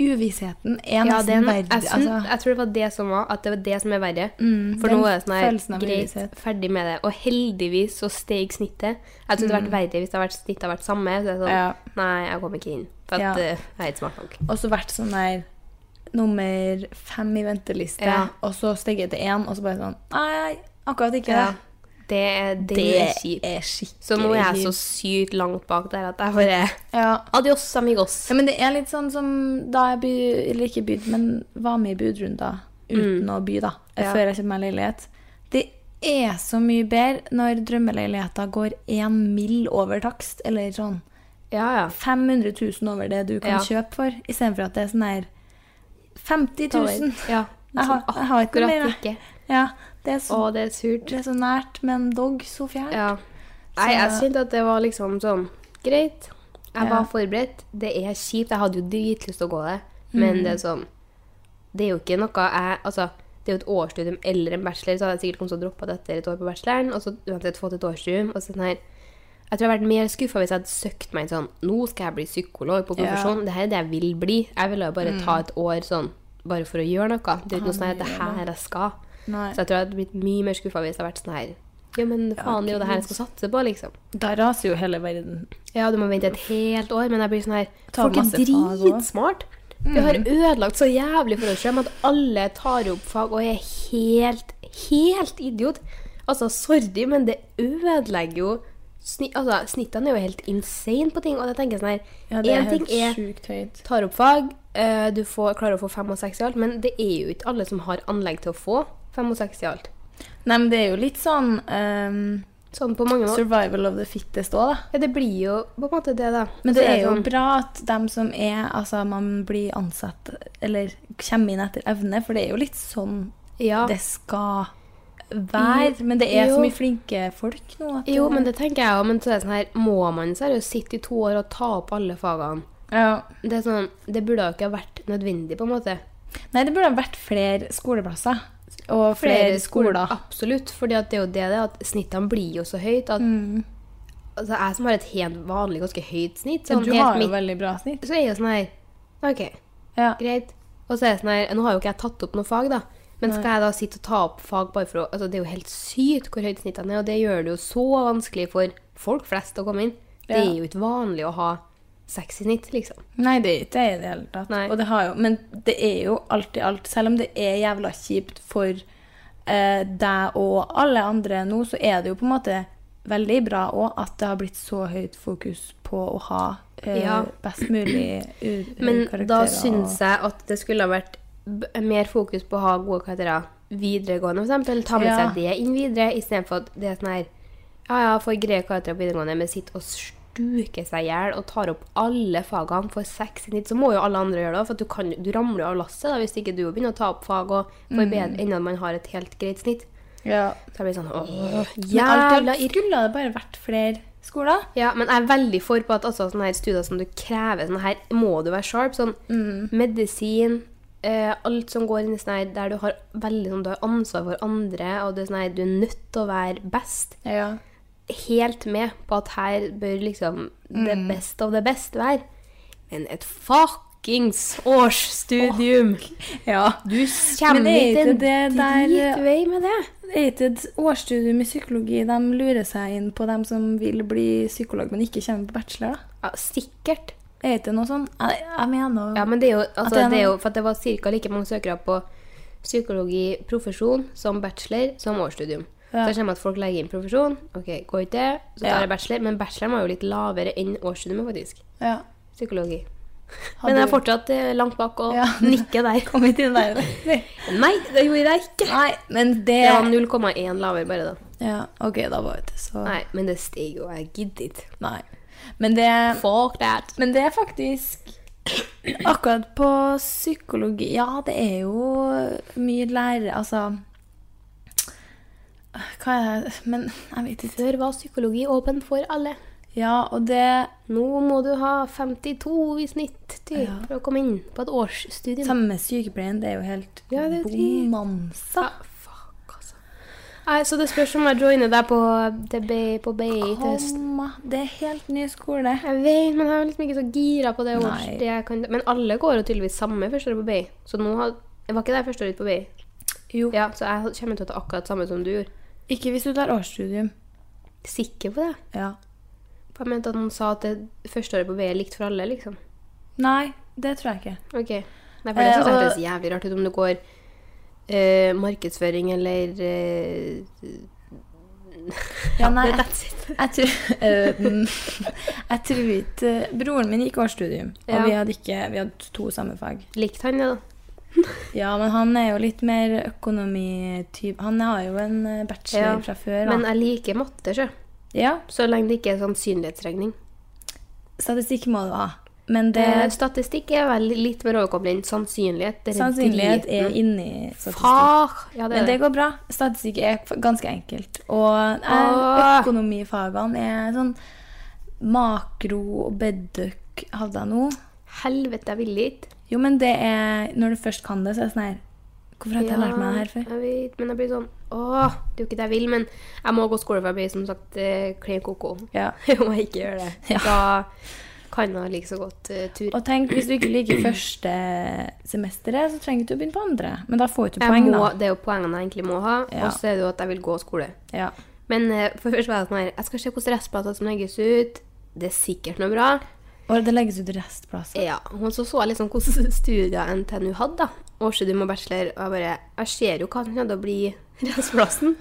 [SPEAKER 2] uvissheten er
[SPEAKER 1] ja,
[SPEAKER 2] nesten
[SPEAKER 1] den, jeg,
[SPEAKER 2] verre. altså.
[SPEAKER 1] syn- jeg tror det var det som var, at det var det som er verre.
[SPEAKER 2] mm,
[SPEAKER 1] For
[SPEAKER 2] den
[SPEAKER 1] nå er det sånn her,
[SPEAKER 2] følelsen av
[SPEAKER 1] greit,
[SPEAKER 2] uvisshet.
[SPEAKER 1] ferdig med det. Og heldigvis så steg snittet. Jeg trodde det hadde vært verre hvis det hadde vært snittet hadde vært samme. Så det er sånn,
[SPEAKER 2] Mm. Ja.
[SPEAKER 1] Nei, jeg kommer ikke inn. For
[SPEAKER 2] Ja.
[SPEAKER 1] at, eh, jeg er ikke smart nok.
[SPEAKER 2] Og så vært sånn der nummer fem i venteliste,
[SPEAKER 1] Ja.
[SPEAKER 2] og så steget til én, og så bare sånn Nei, akkurat ikke
[SPEAKER 1] Ja.
[SPEAKER 2] det.
[SPEAKER 1] Det, er- det, er kjipt.
[SPEAKER 2] er skikkelig
[SPEAKER 1] Så nå er jeg så
[SPEAKER 2] kjipt.
[SPEAKER 1] sykt langt bak der at jeg bare
[SPEAKER 2] ja.
[SPEAKER 1] Adios, amigos.
[SPEAKER 2] ja, men det er litt sånn som da jeg by, eller ikke byd, men var med i budrunder uten å by, da,
[SPEAKER 1] Mm. Ja.
[SPEAKER 2] før jeg kjøpte meg leilighet. Det er så mye bedre når drømmeleiligheter går én mill. over takst, eller sånn
[SPEAKER 1] Ja, ja.
[SPEAKER 2] 500 000 over det du kan
[SPEAKER 1] Ja.
[SPEAKER 2] kjøpe for, istedenfor at det er sånn her 50
[SPEAKER 1] Ta
[SPEAKER 2] 000.
[SPEAKER 1] det. Ja.
[SPEAKER 2] Jeg har, jeg har ikke noe
[SPEAKER 1] Akkurat
[SPEAKER 2] mer. jeg.
[SPEAKER 1] ikke.
[SPEAKER 2] Ja, det er så
[SPEAKER 1] Å, det er surt.
[SPEAKER 2] Det er så nært, men dog så fjernt.
[SPEAKER 1] Ja. Nei, jeg
[SPEAKER 2] Så-
[SPEAKER 1] syntes at det var liksom sånn Greit. Jeg
[SPEAKER 2] Ja.
[SPEAKER 1] var forberedt. Det er kjipt. Jeg hadde jo dritlyst til å gå det. Men
[SPEAKER 2] Mhm.
[SPEAKER 1] det er sånn Det er jo ikke noe jeg Altså, det er jo et årsstudium eller en bachelor, så hadde jeg sikkert kommet til å droppe det etter et år på bacheloren, og så uansett fått et årsstudium, og så sånn her Jeg tror jeg hadde vært mer skuffa hvis jeg hadde søkt meg inn sånn Nå skal jeg bli psykolog på profesjon. Det her er det jeg vil bli. Jeg ville jo bare
[SPEAKER 2] Mm.
[SPEAKER 1] ta et år sånn bare for å gjøre noe. Det er ikke noe sånn at det her jeg skal.
[SPEAKER 2] Nei.
[SPEAKER 1] Så jeg tror jeg hadde blitt mye mer skuffa hvis jeg hadde vært sånn her Ja, men faen, det er jo det her jeg skal satse på, liksom.
[SPEAKER 2] Da raser jo hele verden.
[SPEAKER 1] Ja, du må vente et helt år, men jeg blir sånn her
[SPEAKER 2] Ta
[SPEAKER 1] Folk er
[SPEAKER 2] masse fag også. Mm.
[SPEAKER 1] dritsmart. Vi har ødelagt så jævlig for oss selv at alle tar opp fag og er helt, helt idiot. Altså, sorry, men det ødelegger jo sni altså, Snittene er jo helt insane på ting. Og jeg tenker sånn her
[SPEAKER 2] Ja,
[SPEAKER 1] En
[SPEAKER 2] det er
[SPEAKER 1] ting
[SPEAKER 2] helt
[SPEAKER 1] er
[SPEAKER 2] sjukt høyt.
[SPEAKER 1] tar opp fag, eh, du får, klarer å få fem og seks i alt, men det er jo ikke alle som har anlegg til å få fem og seks i alt.
[SPEAKER 2] Nei, men det er jo litt sånn ehm,
[SPEAKER 1] Sånn på mange måter.
[SPEAKER 2] survival of the fittest òg, da.
[SPEAKER 1] Ja, det blir jo på en måte det, da.
[SPEAKER 2] Men
[SPEAKER 1] Så
[SPEAKER 2] det er jo
[SPEAKER 1] sånn-
[SPEAKER 2] bra at dem som er Altså, man blir ansatt eller kommer inn etter evne, for det er jo litt sånn
[SPEAKER 1] ja.
[SPEAKER 2] det skal være. Men det er
[SPEAKER 1] Jo.
[SPEAKER 2] så mye flinke folk nå. At
[SPEAKER 1] Jo, men det tenker jeg òg. Men så er det sånn her, må man seriøst sitte i to år og ta opp alle fagene?
[SPEAKER 2] ja.
[SPEAKER 1] Det, er sånn, det burde jo ikke ha vært nødvendig, på en måte.
[SPEAKER 2] Nei, det burde ha vært flere skoleplasser. Og flere, skoler.
[SPEAKER 1] Absolutt. For det er jo det, det at snittene blir jo så høyt at
[SPEAKER 2] Mm.
[SPEAKER 1] altså, Jeg som har et helt vanlig, ganske høyt snitt,
[SPEAKER 2] Ja,
[SPEAKER 1] sånn,
[SPEAKER 2] du
[SPEAKER 1] helt
[SPEAKER 2] har jo
[SPEAKER 1] midt,
[SPEAKER 2] veldig bra snitt.
[SPEAKER 1] så er jeg jo sånn her OK.
[SPEAKER 2] Ja.
[SPEAKER 1] Greit. Og så er det sånn her, Nå har jo ikke jeg tatt opp noe fag, da. Men skal jeg da sitte og ta opp fag bare for å altså Det er jo helt sykt hvor høyt snittene er, og det gjør det jo så vanskelig for folk flest å komme inn. Det
[SPEAKER 2] Ja.
[SPEAKER 1] er jo ikke vanlig å ha seks i snitt, liksom.
[SPEAKER 2] Nei, det er ikke det i det hele tatt.
[SPEAKER 1] Nei.
[SPEAKER 2] Og det har jo, men det er jo alt i alt. Selv om det er jævla kjipt for eh, deg og alle andre nå, så er det jo på en måte veldig bra òg at det har blitt så høyt fokus på å ha eh,
[SPEAKER 1] Ja.
[SPEAKER 2] best mulig u-
[SPEAKER 1] Men
[SPEAKER 2] karakterer.
[SPEAKER 1] da
[SPEAKER 2] og-
[SPEAKER 1] syns jeg at det skulle ha vært b mer fokus på å ha gode karakterer videregående, f.eks. Ta med
[SPEAKER 2] Ja.
[SPEAKER 1] seg det inn videre, istedenfor at det er sånn her Ja, ja, får greie karakterer på videregående, men sitter og stuker seg i hjel og tar opp alle fagene for seks i snitt, så må jo alle andre gjøre det. For at du, kan, du ramler jo av lasset da, hvis ikke du begynner å ta opp fag og
[SPEAKER 2] Mm.
[SPEAKER 1] forbedre innen man har et helt greit snitt.
[SPEAKER 2] ja.
[SPEAKER 1] Så jeg blir sånn åh,
[SPEAKER 2] Men alt i
[SPEAKER 1] jævla
[SPEAKER 2] alt skulle det bare vært flere skoler.
[SPEAKER 1] ja, men jeg er veldig for på at altså, sånne her studier som du krever sånn her, må du være sharp. Sånn
[SPEAKER 2] Mm.
[SPEAKER 1] medisin, eh, alt som går inn i sånn her, der du har veldig sånn, du har ansvar for andre, og det er sånn her, du er nødt til å være best.
[SPEAKER 2] Ja.
[SPEAKER 1] Helt med på at her bør liksom det
[SPEAKER 2] Mm.
[SPEAKER 1] best av det best være. Men et fuckings årsstudium!
[SPEAKER 2] ja.
[SPEAKER 1] Du
[SPEAKER 2] Men
[SPEAKER 1] kommer
[SPEAKER 2] det er
[SPEAKER 1] ikke en
[SPEAKER 2] ikke det der-
[SPEAKER 1] dritvei med det.
[SPEAKER 2] Det er ikke et årsstudium i psykologi. De lurer seg inn på dem som vil bli psykolog, men ikke kommer på bachelor. da.
[SPEAKER 1] Ja, sikkert.
[SPEAKER 2] Er ikke det noe sånn? Jeg, jeg mener
[SPEAKER 1] Ja, men det er jo, altså,
[SPEAKER 2] det er
[SPEAKER 1] det er
[SPEAKER 2] noe-
[SPEAKER 1] jo for at det var ca. like mange søkere på psykologi profesjon som bachelor som årsstudium.
[SPEAKER 2] Ja.
[SPEAKER 1] Så jeg kommer at folk legger inn profesjon, ok, går ikke det, så tar
[SPEAKER 2] Ja.
[SPEAKER 1] jeg bachelor, men bacheloren var jo litt lavere enn årsstudiumet, faktisk.
[SPEAKER 2] ja.
[SPEAKER 1] Psykologi. Men
[SPEAKER 2] Hadde
[SPEAKER 1] jeg er
[SPEAKER 2] du-
[SPEAKER 1] fortsatt eh, langt bak og
[SPEAKER 2] Ja.
[SPEAKER 1] nikker der.
[SPEAKER 2] Kom hit inn der.
[SPEAKER 1] Nei, det gjorde jeg ikke!
[SPEAKER 2] Nei, men det
[SPEAKER 1] Det var 0,1 lavere bare da.
[SPEAKER 2] Ja, OK, da var det så
[SPEAKER 1] Nei, men det steg jo, jeg gidder ikke.
[SPEAKER 2] Nei. Men det
[SPEAKER 1] Fuck that!
[SPEAKER 2] Men det er faktisk Akkurat på psykologi Ja, det er jo mye lærer... Altså Hva er det Men jeg vet ikke.
[SPEAKER 1] Før var psykologi åpen for alle.
[SPEAKER 2] Ja, og det
[SPEAKER 1] Nå må du ha 52 i snitt typ,
[SPEAKER 2] Ja.
[SPEAKER 1] for å komme inn på et årsstudium.
[SPEAKER 2] Samme med sykepleien, det er jo helt
[SPEAKER 1] Ja, det er drit.
[SPEAKER 2] bonanza.
[SPEAKER 1] Ja, fuck, altså. Nei, så det spørs om jeg joiner deg på, til Bay- på BI til høsten.
[SPEAKER 2] Komma. Det er helt ny skole.
[SPEAKER 1] Jeg vet, men jeg er liksom ikke så gira på det
[SPEAKER 2] Nei.
[SPEAKER 1] års. Det jeg kan, men alle går jo tydeligvis samme første året på BI. Så nå har, jeg var ikke der første året på BI.
[SPEAKER 2] Jo.
[SPEAKER 1] Ja, så jeg kommer til å ta akkurat samme som du gjorde.
[SPEAKER 2] Ikke hvis du tar årsstudium.
[SPEAKER 1] Sikker på det?
[SPEAKER 2] Ja.
[SPEAKER 1] For jeg mente at noen sa at det første året på BI er likt for alle, liksom.
[SPEAKER 2] Nei, det tror jeg ikke.
[SPEAKER 1] Ok. Nei, for det synes jeg
[SPEAKER 2] Eh, og-
[SPEAKER 1] høres jævlig rart ut om du går eh, markedsføring eller eh,
[SPEAKER 2] Ja, nei, jeg,
[SPEAKER 1] That's it.
[SPEAKER 2] jeg, tror, eh, mm, jeg tror ikke eh, Broren min gikk årsstudium, og
[SPEAKER 1] Ja.
[SPEAKER 2] vi hadde ikke Vi hadde to samme fag.
[SPEAKER 1] Likte han det, da?
[SPEAKER 2] Ja, men han er jo litt mer økonomitype. Han har jo en eh, bachelor
[SPEAKER 1] Ja,
[SPEAKER 2] fra før.
[SPEAKER 1] Men
[SPEAKER 2] han.
[SPEAKER 1] jeg liker matte, sjø.
[SPEAKER 2] ja,
[SPEAKER 1] Så lenge det ikke er sannsynlighetsregning.
[SPEAKER 2] statistikk må du ha. Men det,
[SPEAKER 1] Eh, statistikk er vel litt mer overkommelig enn sannsynlighet. Det er
[SPEAKER 2] sannsynlighet er
[SPEAKER 1] driten.
[SPEAKER 2] inni statistikk.
[SPEAKER 1] Far! Ja, det
[SPEAKER 2] Men
[SPEAKER 1] er
[SPEAKER 2] det
[SPEAKER 1] det.
[SPEAKER 2] går bra. Statistikk er f- ganske enkelt. Og eh,
[SPEAKER 1] Åh.
[SPEAKER 2] økonomifagene er sånn makro og bedøk hadde jeg nå.
[SPEAKER 1] Helvete, jeg vil ikke.
[SPEAKER 2] Jo, men det er Når du først kan det, så er det sånn her Hvorfor har ikke jeg lært meg det her før?
[SPEAKER 1] Jeg vet, men jeg blir sånn Åh, det er jo ikke det jeg vil, men jeg må gå skole, for jeg blir som sagt eh, klin koko.
[SPEAKER 2] Ja.
[SPEAKER 1] Om jeg ikke gjør det,
[SPEAKER 2] Ja.
[SPEAKER 1] da kan jeg like så godt eh, tur.
[SPEAKER 2] Og tenk, hvis du ikke liker første semesteret, så trenger du ikke å begynne på andre. Men da får du ikke
[SPEAKER 1] Jeg
[SPEAKER 2] poeng,
[SPEAKER 1] må,
[SPEAKER 2] da.
[SPEAKER 1] det er jo poengene jeg egentlig må ha,
[SPEAKER 2] Ja.
[SPEAKER 1] og så er det jo at jeg vil gå skole.
[SPEAKER 2] Ja.
[SPEAKER 1] Men eh, for først var jeg sånn her Jeg skal se hvordan restplasser som legges ut. Det er sikkert noe bra.
[SPEAKER 2] Og det legges ut restplasser.
[SPEAKER 1] Ja, og så så jeg liksom hvordan studier NTNU hadde da. Årsstudium og bachelor, og jeg bare, jeg ser jo hva som kommer til å bli restplassen.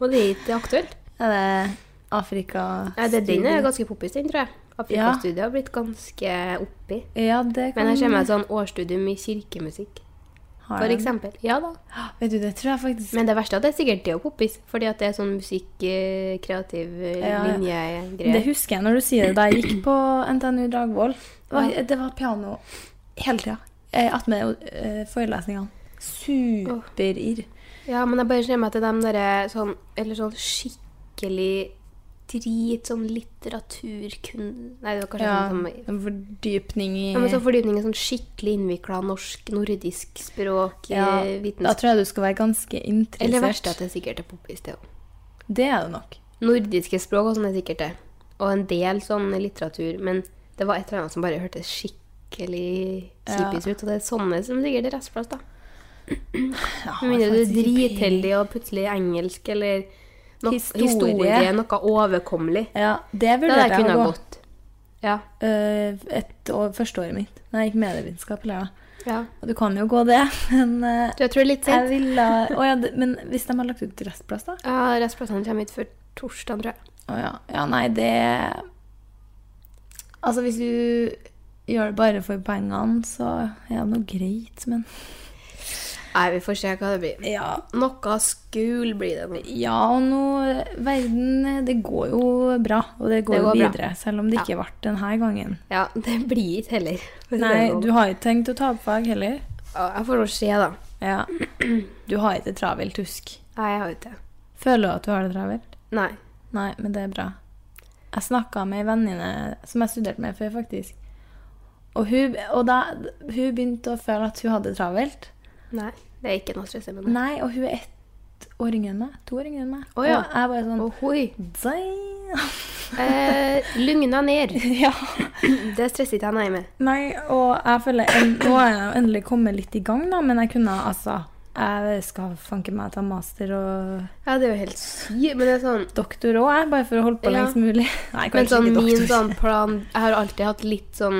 [SPEAKER 1] Og det er ikke aktuelt.
[SPEAKER 2] Er det Afrika
[SPEAKER 1] Nei, det, den er ganske poppis, den, tror jeg.
[SPEAKER 2] Ja.
[SPEAKER 1] Afrikastudiet har blitt ganske oppi.
[SPEAKER 2] Ja, det kan
[SPEAKER 1] Men jeg ser meg et sånn årsstudium i kirkemusikk,
[SPEAKER 2] Har
[SPEAKER 1] for
[SPEAKER 2] den.
[SPEAKER 1] eksempel. Ja da.
[SPEAKER 2] Vet du, det tror jeg faktisk
[SPEAKER 1] Men det verste er at det er sikkert det å poppis, fordi at det er sånn musikk, eh, kreativ eh,
[SPEAKER 2] Ja, ja.
[SPEAKER 1] linje-greier.
[SPEAKER 2] Det husker jeg når du sier det. Da jeg gikk på NTNU Dragvoll, var- det var piano hele tida. Attmed eh, forelesningene. Superirr.
[SPEAKER 1] Ja, men jeg bare ser meg til dem derre sånn Eller sånn skikkelig drit, sånn litteraturkun... Nei, det var kanskje
[SPEAKER 2] Ja,
[SPEAKER 1] sånn som-
[SPEAKER 2] en fordypning i
[SPEAKER 1] ja, men sånn fordypning i sånn skikkelig innvikla norsk, nordisk språk,
[SPEAKER 2] Ja,
[SPEAKER 1] eh,
[SPEAKER 2] Da
[SPEAKER 1] vitenskap
[SPEAKER 2] tror jeg du skal være ganske
[SPEAKER 1] Eller verst at
[SPEAKER 2] interessert.
[SPEAKER 1] det sikkert er poppis, det òg.
[SPEAKER 2] Det er det nok.
[SPEAKER 1] Nordiske språk og sånn er sikkert det. Og en del sånn litteratur. Men det var et eller annet som bare hørtes skikkelig
[SPEAKER 2] Ja.
[SPEAKER 1] kjipis ut. Og det er sånne som sikkert er restplass, da.
[SPEAKER 2] Ja,
[SPEAKER 1] Med mindre du er
[SPEAKER 2] faktisk ikke peiling.
[SPEAKER 1] dritheldig og plutselig engelsk eller no
[SPEAKER 2] Historie.
[SPEAKER 1] historie. noe overkommelig.
[SPEAKER 2] Ja, det
[SPEAKER 1] Det
[SPEAKER 2] vurderte
[SPEAKER 1] der
[SPEAKER 2] jeg
[SPEAKER 1] kunne
[SPEAKER 2] å
[SPEAKER 1] ha
[SPEAKER 2] gå.
[SPEAKER 1] gått. Ja.
[SPEAKER 2] Eh, et år, første året mitt. Når jeg gikk medievitenskap. eller ja.
[SPEAKER 1] ja.
[SPEAKER 2] Og du kan jo gå det, men eh,
[SPEAKER 1] Du, jeg tror det er litt
[SPEAKER 2] jeg
[SPEAKER 1] sent.
[SPEAKER 2] ville Å ja, det- men hvis de har lagt ut restplass, da?
[SPEAKER 1] Ja, Restplassene kommer hit før torsdag, tror jeg.
[SPEAKER 2] Å ja. Ja, nei, det Altså, hvis du gjør det bare for pengene, så er det noe greit, men
[SPEAKER 1] Nei, vi får se hva det blir.
[SPEAKER 2] Ja,
[SPEAKER 1] Noe skul blir det nå.
[SPEAKER 2] ja og nå Verden, det går jo bra, og det går,
[SPEAKER 1] Det går
[SPEAKER 2] jo
[SPEAKER 1] bra.
[SPEAKER 2] videre. Selv om det ikke ble denne gangen.
[SPEAKER 1] Ja, det blir ikke heller. for å si det
[SPEAKER 2] Nei,
[SPEAKER 1] sånn.
[SPEAKER 2] du har ikke tenkt å ta opp fag heller?
[SPEAKER 1] Ja, Jeg får nå se, da.
[SPEAKER 2] Ja. Du har ikke travelt, husk.
[SPEAKER 1] Nei, jeg har ikke det.
[SPEAKER 2] Føler du at du har det travelt?
[SPEAKER 1] Nei.
[SPEAKER 2] Nei, men det er bra. Jeg snakka med ei venninne som jeg studerte med før, faktisk. Og, hun, og da, hun begynte å føle at hun hadde det travelt.
[SPEAKER 1] Nei. Det er ikke noe stress med det.
[SPEAKER 2] Nei, og hun er ett år yngre enn meg. To år yngre enn meg.
[SPEAKER 1] Å, ja.
[SPEAKER 2] Og jeg bare sånn
[SPEAKER 1] Ohoi.
[SPEAKER 2] «Damn!»
[SPEAKER 1] Eh, lugna ned.
[SPEAKER 2] Ja.
[SPEAKER 1] Det stresser ikke jeg nei med.
[SPEAKER 2] Nei, og jeg føler en, Nå har jeg jo endelig kommet litt i gang, da, men jeg kunne altså Jeg skal fanke meg ta master og
[SPEAKER 1] Ja, det er jo helt sykt. Men det er sånn
[SPEAKER 2] doktor òg, jeg, bare for å holde på
[SPEAKER 1] Ja.
[SPEAKER 2] lengst mulig. Nei,
[SPEAKER 1] Men
[SPEAKER 2] kanskje
[SPEAKER 1] sånn,
[SPEAKER 2] ikke
[SPEAKER 1] min
[SPEAKER 2] doktor.
[SPEAKER 1] sånn plan Jeg har alltid hatt litt sånn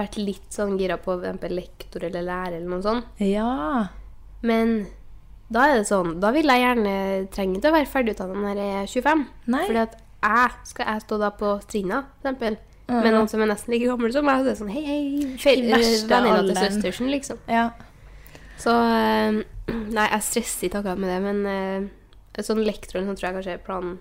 [SPEAKER 1] Vært litt sånn gira på for eksempel lektor eller lærer eller noe sånt.
[SPEAKER 2] Ja.
[SPEAKER 1] Men da er det sånn Da vil jeg gjerne trenge til å være ferdigutdannet når jeg er 25.
[SPEAKER 2] Nei.
[SPEAKER 1] Fordi at jeg skal jeg stå da på Strina, for eksempel. Med noen som er nesten like gammel som meg. Og det er sånn hei, hei, feil,
[SPEAKER 2] I verste
[SPEAKER 1] venninna til
[SPEAKER 2] alderen.
[SPEAKER 1] søstersen, liksom.
[SPEAKER 2] ja.
[SPEAKER 1] Så eh, Nei, jeg stresser ikke akkurat med det, men uh, sånn lektor eller noe sånt tror jeg kanskje er planen.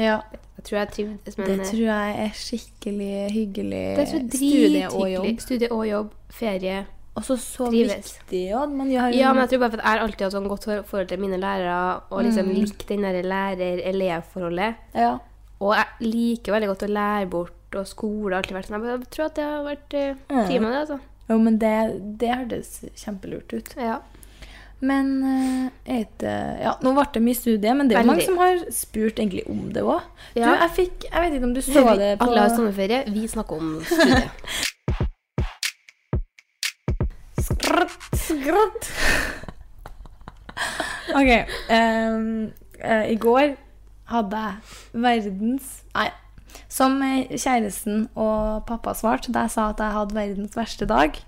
[SPEAKER 2] Ja.
[SPEAKER 1] Jeg tror jeg trivdes, men
[SPEAKER 2] Det
[SPEAKER 1] eh,
[SPEAKER 2] tror jeg er skikkelig hyggelig.
[SPEAKER 1] Det er så
[SPEAKER 2] Eh, Studie og jobb.
[SPEAKER 1] drithyggelig. Studie og jobb, ferie.
[SPEAKER 2] Og så så
[SPEAKER 1] Trives.
[SPEAKER 2] viktig òg. Man gjør jo
[SPEAKER 1] Ja, men jeg tror bare for at jeg alltid har sånn godt for- forhold til mine lærere, og
[SPEAKER 2] Mm.
[SPEAKER 1] liksom likt den der lærer-elev-forholdet.
[SPEAKER 2] ja.
[SPEAKER 1] Og jeg liker veldig godt å lære bort, og skole har alltid vært sånn. Jeg bare tror at det har vært eh,
[SPEAKER 2] Ja.
[SPEAKER 1] tid med det, altså.
[SPEAKER 2] Jo, men det, det hørtes kjempelurt ut.
[SPEAKER 1] Ja.
[SPEAKER 2] Men eh, er ikke Ja, nå ble det mye studie, men det er jo mange
[SPEAKER 1] Veldig.
[SPEAKER 2] som har spurt egentlig om det òg. Du,
[SPEAKER 1] Ja.
[SPEAKER 2] jeg fikk Jeg vet ikke om du så det på
[SPEAKER 1] Alle har sommerferie, vi snakker om studie.
[SPEAKER 2] Skratt, skratt. OK. ehm, eh, I går hadde jeg verdens Nei. Som eh, kjæresten og pappa svarte da jeg sa at jeg hadde verdens verste dag,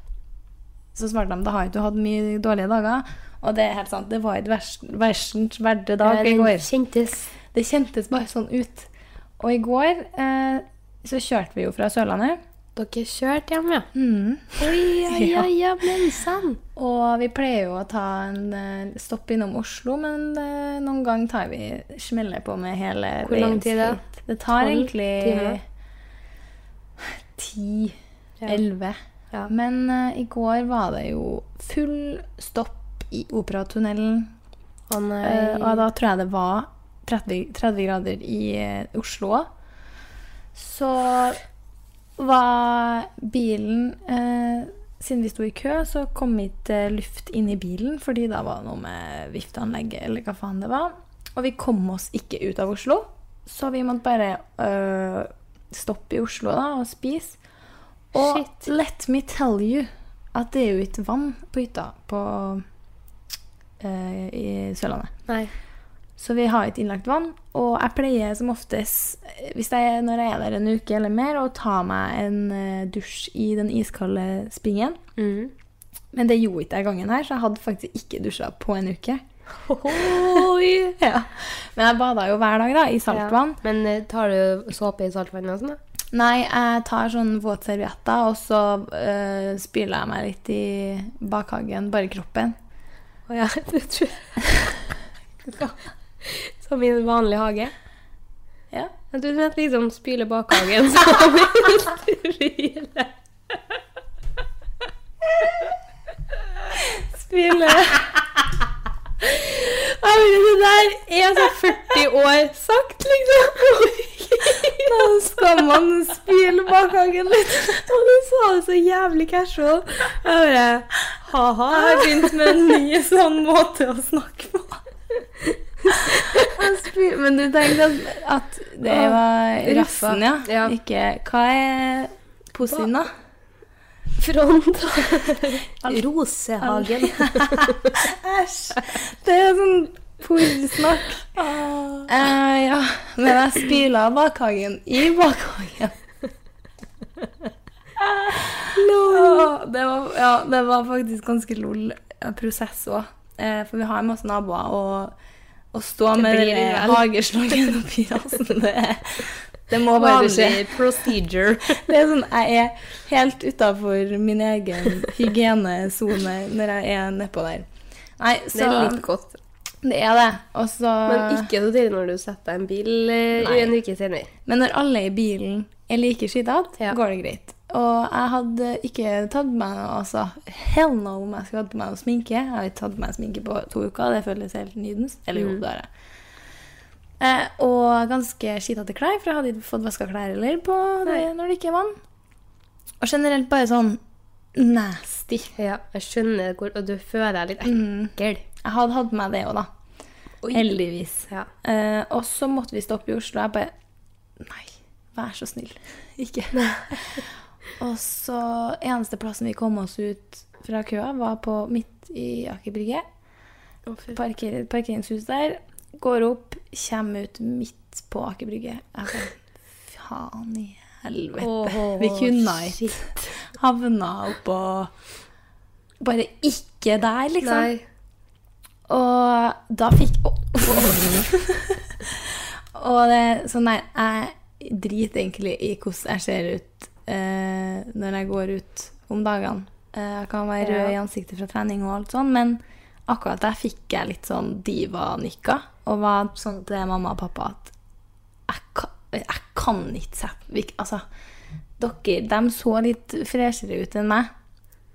[SPEAKER 2] så svarte de da har ikke du hatt mye dårlige dager. Og det er helt sant. Det var ikke vers- versens verste dag i
[SPEAKER 1] Den
[SPEAKER 2] går.
[SPEAKER 1] kjentes.
[SPEAKER 2] Det kjentes bare sånn ut. Og i går eh, så kjørte vi jo fra Sørlandet.
[SPEAKER 1] Dere kjørte hjem, ja.
[SPEAKER 2] Mm.
[SPEAKER 1] Oi, oi,
[SPEAKER 2] Ja.
[SPEAKER 1] oi, ja, men sann.
[SPEAKER 2] Og vi pleier jo å ta en eh, stopp innom Oslo, men eh, noen ganger tar vi smeller på med hele
[SPEAKER 1] Hvor lang
[SPEAKER 2] veiens
[SPEAKER 1] tid da?
[SPEAKER 2] flyt. Det tar
[SPEAKER 1] Tolv timer?
[SPEAKER 2] egentlig ti,
[SPEAKER 1] Ja.
[SPEAKER 2] elleve.
[SPEAKER 1] Ja.
[SPEAKER 2] Men eh, i går var det jo full stopp i Operatunnelen.
[SPEAKER 1] Å nei.
[SPEAKER 2] Eh, og da tror jeg det var 30, 30 grader i eh, Oslo òg. Så var bilen eh, siden vi sto i kø, så kom ikke eh, luft inn i bilen, fordi da var det noe med vifteanlegget eller hva faen det var. Og vi kom oss ikke ut av Oslo, så vi måtte bare øh, stoppe i Oslo da og spise. Og let me tell you at det er jo ikke vann på hytta på, øh, i Sørlandet.
[SPEAKER 1] Nei.
[SPEAKER 2] Så vi har ikke innlagt vann, og jeg pleier som oftest, hvis jeg, når jeg er der en uke eller mer, å ta meg en eh, dusj i den iskalde springen.
[SPEAKER 1] Mm.
[SPEAKER 2] Men det gjorde ikke jeg gangen her, så jeg hadde faktisk ikke dusja på en uke.
[SPEAKER 1] Oi!
[SPEAKER 2] Ja. Men jeg bada jo hver dag, da, i saltvann.
[SPEAKER 1] Ja. Men eh, tar du såpe i saltvann og sånn, da?
[SPEAKER 2] Nei, jeg tar sånn våtservietter, og så eh, spyler jeg meg litt i bakhagen, bare kroppen.
[SPEAKER 1] Å ja, det tror jeg. Som i en vanlig hage?
[SPEAKER 2] Ja.
[SPEAKER 1] Men Du vet liksom spyle bakhagen som en stryle.
[SPEAKER 2] Spyle.
[SPEAKER 1] Det der er
[SPEAKER 2] altså
[SPEAKER 1] så 40 år sagt, liksom.
[SPEAKER 2] Nå skal man spyle bakhagen litt.
[SPEAKER 1] Og du sa det så jævlig casual. Jeg bare ha-ha. Jeg har begynt med en ny sånn måte å snakke på.
[SPEAKER 2] Jeg spyr- Men du tenkte at, at det var
[SPEAKER 1] Ruffa.
[SPEAKER 2] rassen, ja.
[SPEAKER 1] Ja.
[SPEAKER 2] Ikke Hva er posen, da?
[SPEAKER 1] Front. Rosehagen.
[SPEAKER 2] Æsj! Det er sånn porsnakk.
[SPEAKER 1] Ah.
[SPEAKER 2] Eh, ja. Men jeg spyla bakhagen i bakhagen. Åh, Det, var, ja, det var faktisk ganske lol eh, prosess òg. Eh, for vi har masse naboer, og å stå
[SPEAKER 1] Det
[SPEAKER 2] med
[SPEAKER 1] blir
[SPEAKER 2] det
[SPEAKER 1] vel.
[SPEAKER 2] hageslagen oppi rassen, det, det må bare skje.
[SPEAKER 1] Vanlig procedure.
[SPEAKER 2] Det er sånn, Jeg er helt utafor min egen hygienesone når jeg er nedpå der. Nei, så
[SPEAKER 1] Det er litt godt.
[SPEAKER 2] Det er det. Og så
[SPEAKER 1] Men ikke så tidlig når du setter deg en bil eh,
[SPEAKER 2] Nei.
[SPEAKER 1] i en uke senere.
[SPEAKER 2] Men når alle i bilen er like skitete,
[SPEAKER 1] Ja.
[SPEAKER 2] går det greit. Og jeg hadde ikke tatt med meg altså, Hell no om jeg skulle hatt på meg noe sminke. Jeg har ikke tatt på meg sminke på to uker. Det føles helt nydens. Eller
[SPEAKER 1] Mm.
[SPEAKER 2] jo, det har jeg. Eh, og ganske skitete klær, for jeg hadde ikke fått vaska klær heller på det, når det ikke er vann. Og generelt bare sånn nasty.
[SPEAKER 1] Ja, jeg skjønner hvor Og du føler deg litt
[SPEAKER 2] Mm.
[SPEAKER 1] ekkel.
[SPEAKER 2] Jeg hadde hatt med meg det òg, da. Heldigvis.
[SPEAKER 1] Ja.
[SPEAKER 2] Eh, og så måtte vi stoppe i Oslo. Jeg bare Nei, vær så snill. Ikke. og så eneste plassen vi kom oss ut fra køa, var på midt i Aker Brygge. Parker, parkeringshus der. Går opp, kommer ut midt på Aker Brygge. Jeg bare Faen i helvete.
[SPEAKER 1] Åh,
[SPEAKER 2] vi kunne ikke havna oppå Bare ikke der, liksom.
[SPEAKER 1] Nei.
[SPEAKER 2] Og da fikk Å, Og det, så nei, jeg driter egentlig i hvordan jeg ser ut eh, når jeg går ut om dagene. Eh, jeg kan være rød i ansiktet fra trening og alt sånn, men akkurat der fikk jeg litt sånn diva-nikka. Og var sånn til mamma og pappa at jeg kan, jeg kan ikke sette vi- Altså, dere, de så litt freshere ut enn meg.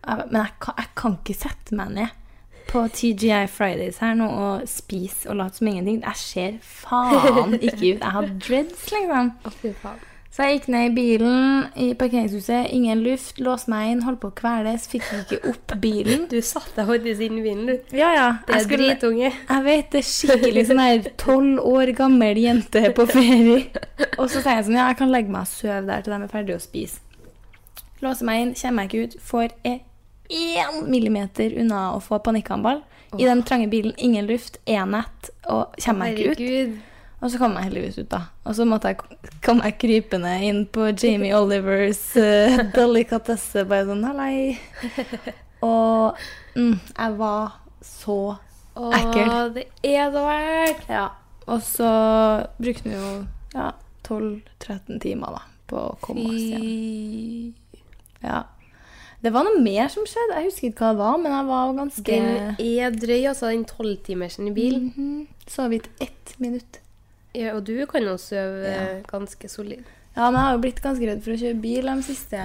[SPEAKER 2] Jeg, men jeg kan, jeg kan ikke sette meg ned på TGI Fridays her nå og spise og late som ingenting. Jeg ser faen ikke ut. Jeg har dreads, liksom.
[SPEAKER 1] Å, fy faen.
[SPEAKER 2] Så jeg gikk ned i bilen i parkeringshuset. Ingen luft. Låste meg inn, holdt på å kveles. Fikk ikke opp bilen.
[SPEAKER 1] Du satte deg faktisk inn i bilen, du.
[SPEAKER 2] Ja, ja.
[SPEAKER 1] Det
[SPEAKER 2] Jeg
[SPEAKER 1] er
[SPEAKER 2] skulle
[SPEAKER 1] dritunge.
[SPEAKER 2] jeg vet det er skikkelig sånn her tolv år gammel jente på ferie. Og så sier jeg sånn, ja, jeg kan legge meg og sove der til de er ferdige å spise. Låser meg inn, kommer meg ikke ut, får jeg én millimeter unna å få panikkanfall. I den trange bilen, ingen luft, én nett, og kommer meg ikke ut.
[SPEAKER 1] Herregud.
[SPEAKER 2] Og så kom jeg heldigvis ut, da. Og så måtte jeg, kom jeg krypende inn på Jamie Olivers uh, delikatesse, bare sånn hallei. Og mm, jeg var så
[SPEAKER 1] Åh,
[SPEAKER 2] Ekkel.
[SPEAKER 1] det er så verdt.
[SPEAKER 2] ja. Og så brukte vi jo ja, 12-13 timer da, på å komme oss hjem. Ja. Det var noe mer som skjedde. Jeg husker ikke hva det var, men jeg var jo ganske
[SPEAKER 1] Den er drøy, altså, den tolvtimersen i bil.
[SPEAKER 2] Mhm. Så vidt ett minutt.
[SPEAKER 1] Ja, og du kan jo sove eh, ganske solid.
[SPEAKER 2] Ja, men jeg har jo blitt ganske redd for å kjøre bil de siste,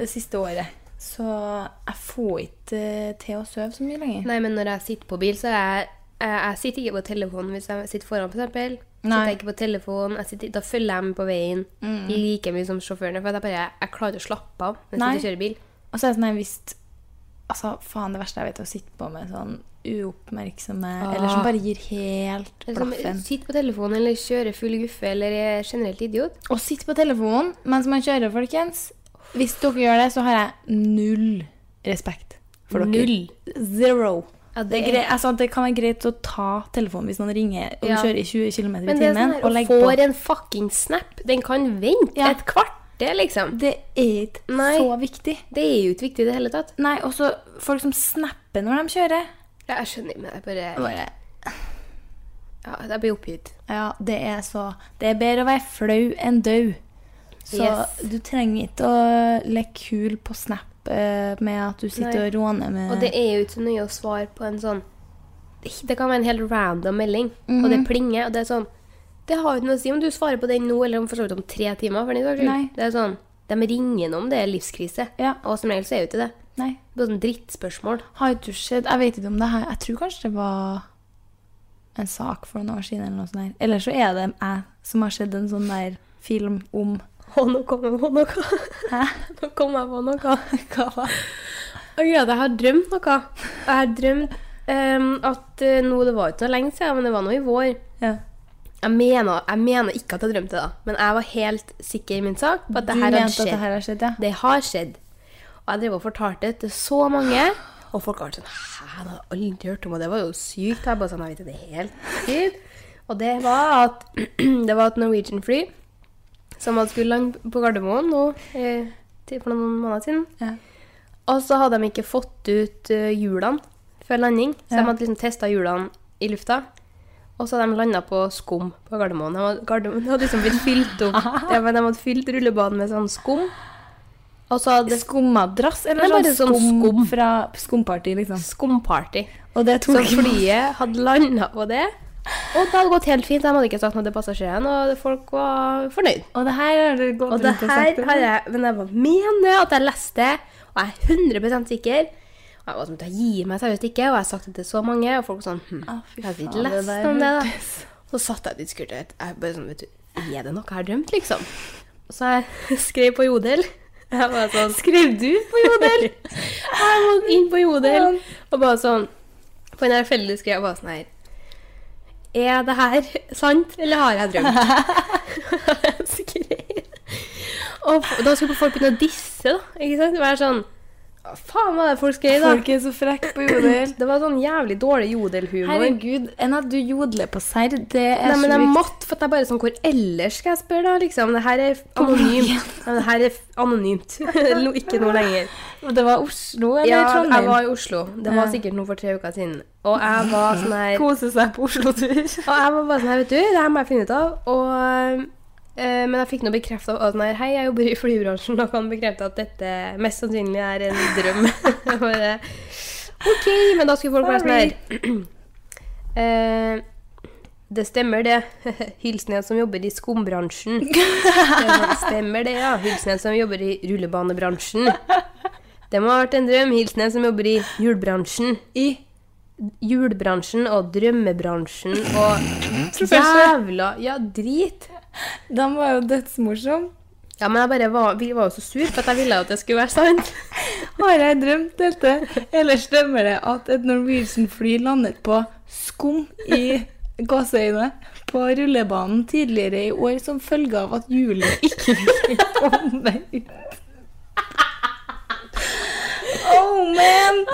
[SPEAKER 2] det siste året. Så jeg får ikke eh, til å sove så mye lenger.
[SPEAKER 1] Nei, men når jeg sitter på bil, så er jeg jeg jeg sitter ikke på telefonen hvis jeg sitter foran, for eksempel.
[SPEAKER 2] Nei. Mm.
[SPEAKER 1] Sitter jeg ikke på telefonen, jeg sitter, da følger jeg med på veien like mye som sjåføren. For jeg, bare, jeg klarer ikke å slappe av når jeg
[SPEAKER 2] Nei.
[SPEAKER 1] sitter og kjører bil.
[SPEAKER 2] Og så er det sånn jeg visst Altså, faen, det verste jeg vet, er å sitte på med sånn uoppmerksomme Eller som bare gir helt blaffen.
[SPEAKER 1] Sitt på telefonen eller kjøre full guffe eller er generelt idiot.
[SPEAKER 2] Å sitte på telefonen mens man kjører, folkens Hvis dere gjør det, så har jeg null respekt for dere. Null. Zero.
[SPEAKER 1] Ja,
[SPEAKER 2] Det, er grei, altså, det kan være greit å ta telefonen hvis noen ringer og
[SPEAKER 1] Ja.
[SPEAKER 2] kjører i 20 km i
[SPEAKER 1] Men det er sånn
[SPEAKER 2] timen.
[SPEAKER 1] her,
[SPEAKER 2] og
[SPEAKER 1] å
[SPEAKER 2] legger
[SPEAKER 1] få
[SPEAKER 2] på.
[SPEAKER 1] en fucking snap, den kan vente
[SPEAKER 2] Ja.
[SPEAKER 1] et kvarter, liksom.
[SPEAKER 2] Det er ikke
[SPEAKER 1] Nei.
[SPEAKER 2] så viktig.
[SPEAKER 1] Det er jo ikke viktig i det hele tatt.
[SPEAKER 2] Nei, også folk som snapper når de kjører.
[SPEAKER 1] Ja, jeg skjønner, men jeg bare,
[SPEAKER 2] Bare,
[SPEAKER 1] ja, jeg blir oppgitt.
[SPEAKER 2] ja, det er så Det er bedre å være flau enn død. Så
[SPEAKER 1] Yes.
[SPEAKER 2] du trenger ikke å leke kul på Snap eh, med at du sitter
[SPEAKER 1] Nei.
[SPEAKER 2] og råner med
[SPEAKER 1] Og det er jo ikke så nøye å svare på en sånn Det kan være en helt random melding, og
[SPEAKER 2] Mhm.
[SPEAKER 1] det plinger, og det er sånn Det har jo ikke noe å si om du svarer på den nå eller om for så vidt om tre timer. for den saks skyld.
[SPEAKER 2] Nei.
[SPEAKER 1] Det er sånn, De ringer nå om det er livskrise,
[SPEAKER 2] Ja.
[SPEAKER 1] og som regel så er jo ikke det.
[SPEAKER 2] Nei.
[SPEAKER 1] Det er bare sånn drittspørsmål.
[SPEAKER 2] Har ikke du sett Jeg vet ikke om det her Jeg tror kanskje det var en sak for noen år siden eller noe sånt der. Eller så er det jeg som har sett en sånn der film om
[SPEAKER 1] Å, nå kom jeg på noe.
[SPEAKER 2] Hæ?
[SPEAKER 1] Nå kom jeg på noe. Hva var jeg har drømt noe. Jeg har drømt ehm, at eh, nå, Det var ikke noe lenge siden, men det var nå i vår.
[SPEAKER 2] Ja.
[SPEAKER 1] Jeg mener, jeg mener ikke at jeg drømte det, da. men jeg var helt sikker i min sak på at det
[SPEAKER 2] du
[SPEAKER 1] her hadde
[SPEAKER 2] mente at
[SPEAKER 1] skjedd.
[SPEAKER 2] det her har skjedd, ja?
[SPEAKER 1] Det har skjedd. Og jeg drev og fortalte det til så mange. Og folk har vært sånn Hæ, det har jeg aldri hørt om, og det var jo sykt. Og Jeg bare sånn, jeg vet ikke, det er helt sykt. Og det var at det var et Norwegian-fly som hadde skulle lande på Gardermoen nå eh, til- for noen måneder siden.
[SPEAKER 2] Ja.
[SPEAKER 1] Og så hadde de ikke fått ut eh, hjulene før landing, så
[SPEAKER 2] Ja.
[SPEAKER 1] de hadde liksom testa hjulene i lufta. Og så hadde de landa på skum på Gardermoen. De hadde, Gardermoen de hadde liksom blitt fylt opp. Ja, men de hadde fylt rullebanen med sånn skum. Og så hadde
[SPEAKER 2] Skummadrass?
[SPEAKER 1] Nei,
[SPEAKER 2] Eller sånn
[SPEAKER 1] bare sånn
[SPEAKER 2] skum,
[SPEAKER 1] skum.
[SPEAKER 2] fra skumparty, liksom?
[SPEAKER 1] skumparty.
[SPEAKER 2] Og det
[SPEAKER 1] Så
[SPEAKER 2] tok
[SPEAKER 1] flyet hadde landa på det. Og det hadde gått helt fint. De hadde ikke sagt noe til passasjeren, og folk var fornøyd.
[SPEAKER 2] Og det her har du gått
[SPEAKER 1] Og det
[SPEAKER 2] rundt og sagt
[SPEAKER 1] her har jeg Men jeg bare mener at jeg leste det, og jeg er 100 sikker. Og jeg var sånn, jeg gir meg seriøst ikke, og jeg har sagt det til så mange, og folk var sånn hm,
[SPEAKER 2] Å, fy
[SPEAKER 1] Jeg har ikke
[SPEAKER 2] faen, det
[SPEAKER 1] lest
[SPEAKER 2] der
[SPEAKER 1] om det, da. Så satt jeg litt skurtet. Jeg bare sånn, vet du, er det noe jeg har drømt, liksom? Og så jeg skrev på Jodel. Jeg bare sånn, Skrev du på Jodel? jeg må inn på Jodel. Og bare sånn, på en her felle skrev jeg bare sånn her, er det her sant, eller har jeg drømt? Skrev. Og f- da skulle folk begynne å disse, da. Ikke sant? Være sånn «Hva Faen, hva er det folk skrev, da?
[SPEAKER 2] Folk er så frekke på jodel.
[SPEAKER 1] Det var sånn jævlig dårlig jodelhumor.
[SPEAKER 2] Herregud, enn at du jodler på serr, det er
[SPEAKER 1] Nei, men
[SPEAKER 2] så
[SPEAKER 1] jeg
[SPEAKER 2] viktig.
[SPEAKER 1] måtte, for at jeg bare sånn, Hvor ellers skal jeg spørre, da? liksom? Det her er anonymt. Nei, Det her er anonymt. Lo- Ikke noe lenger.
[SPEAKER 2] Det var Oslo eller
[SPEAKER 1] Ja, jeg
[SPEAKER 2] Trondheim?
[SPEAKER 1] var i Oslo. Det var
[SPEAKER 2] Ja.
[SPEAKER 1] sikkert noe for tre uker siden. Og jeg var sånn her Og
[SPEAKER 2] Kose seg på Oslo-tur.
[SPEAKER 1] jeg var bare sånn her, vet du, det her må jeg finne ut av. Og, eh, men jeg fikk nå bekrefta at sånn her, hei, jeg jobber i flybransjen og kan bekrefte at dette mest sannsynlig er en drøm. Jeg bare, OK, men da skulle folk være sånn her Eh, det stemmer, det. Hilsen en som jobber i skumbransjen. Det stemmer det, ja. Hilsen en som jobber i rullebanebransjen. Det må ha vært en drøm. Hilsen en som jobber i hjulbransjen. I hjulbransjen og drømmebransjen og Jævla Ja, drit.
[SPEAKER 2] De var jo dødsmorsomme.
[SPEAKER 1] Ja, men jeg bare var, vi var jo så sur, for at jeg ville at det skulle være sant.
[SPEAKER 2] Har jeg drømt dette? Eller stemmer det at et Norwegian-fly landet på skum i gåseøyne på rullebanen tidligere i år som følge av at hjulet ikke ville komme ut? Oh man!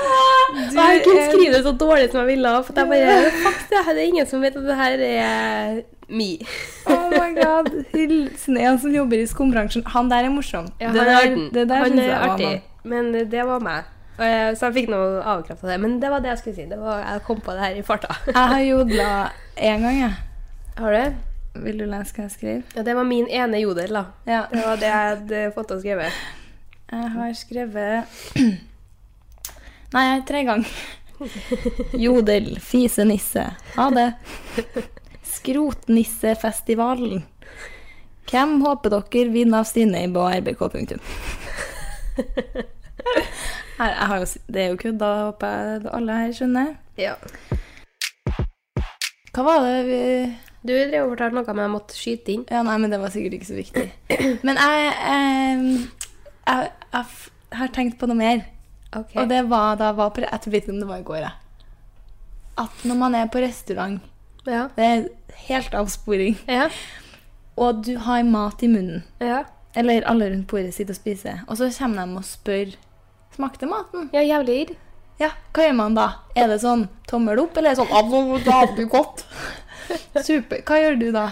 [SPEAKER 2] Du
[SPEAKER 1] Og jeg kunne
[SPEAKER 2] er-
[SPEAKER 1] skrive det så dårlig som jeg ville. For at jeg bare, fuck det, her, det er ingen som vet at det her er me.
[SPEAKER 2] Oh my god. Hilsen en som jobber i skumbransjen. Han der er morsom.
[SPEAKER 1] Ja,
[SPEAKER 2] det
[SPEAKER 1] han
[SPEAKER 2] der,
[SPEAKER 1] er arten.
[SPEAKER 2] Det der
[SPEAKER 1] han
[SPEAKER 2] synes
[SPEAKER 1] er
[SPEAKER 2] jeg var
[SPEAKER 1] artig.
[SPEAKER 2] man.
[SPEAKER 1] Men eh, det var meg. Og jeg- Så jeg fikk noe avkraft av det. Men det var det jeg skulle si. Det var, jeg kom på det her i farta.
[SPEAKER 2] Jeg har jodla én gang, jeg.
[SPEAKER 1] Har du?
[SPEAKER 2] Vil du lese hva jeg skrev?
[SPEAKER 1] Ja, det var min ene jodel, da.
[SPEAKER 2] Ja.
[SPEAKER 1] Det var det jeg hadde fått og skrevet.
[SPEAKER 2] Jeg har skrevet Nei, jeg er tre ganger. Jodel, fisenisse. Ha det. Skrotnissefestivalen. Hvem håper dere vinner av Stinneib og RBK? Punktum. Her, jeg har jo, s- det er jo kødd, da håper jeg alle her skjønner.
[SPEAKER 1] Ja.
[SPEAKER 2] Hva var det vi
[SPEAKER 1] Du drev og fortalte noe om jeg måtte skyte inn.
[SPEAKER 2] Ja, nei, men det var sikkert ikke så viktig. Men jeg eh, jeg, jeg, f- har tenkt på noe mer.
[SPEAKER 1] Ok.
[SPEAKER 2] Og det var da var på, Jeg vet ikke om det var i går, jeg. At når man er på restaurant
[SPEAKER 1] Ja.
[SPEAKER 2] Det er helt avsporing.
[SPEAKER 1] Ja.
[SPEAKER 2] Og du har mat i munnen.
[SPEAKER 1] ja.
[SPEAKER 2] Eller alle rundt bordet sitter og spiser. Og så kommer de og spør Smakte maten.
[SPEAKER 1] Ja, jævlig irr.
[SPEAKER 2] Ja, hva gjør man da? Er det sånn tommel opp, eller er det sånn «Ah, nå- Da hadde du godt. Super. Hva gjør du da?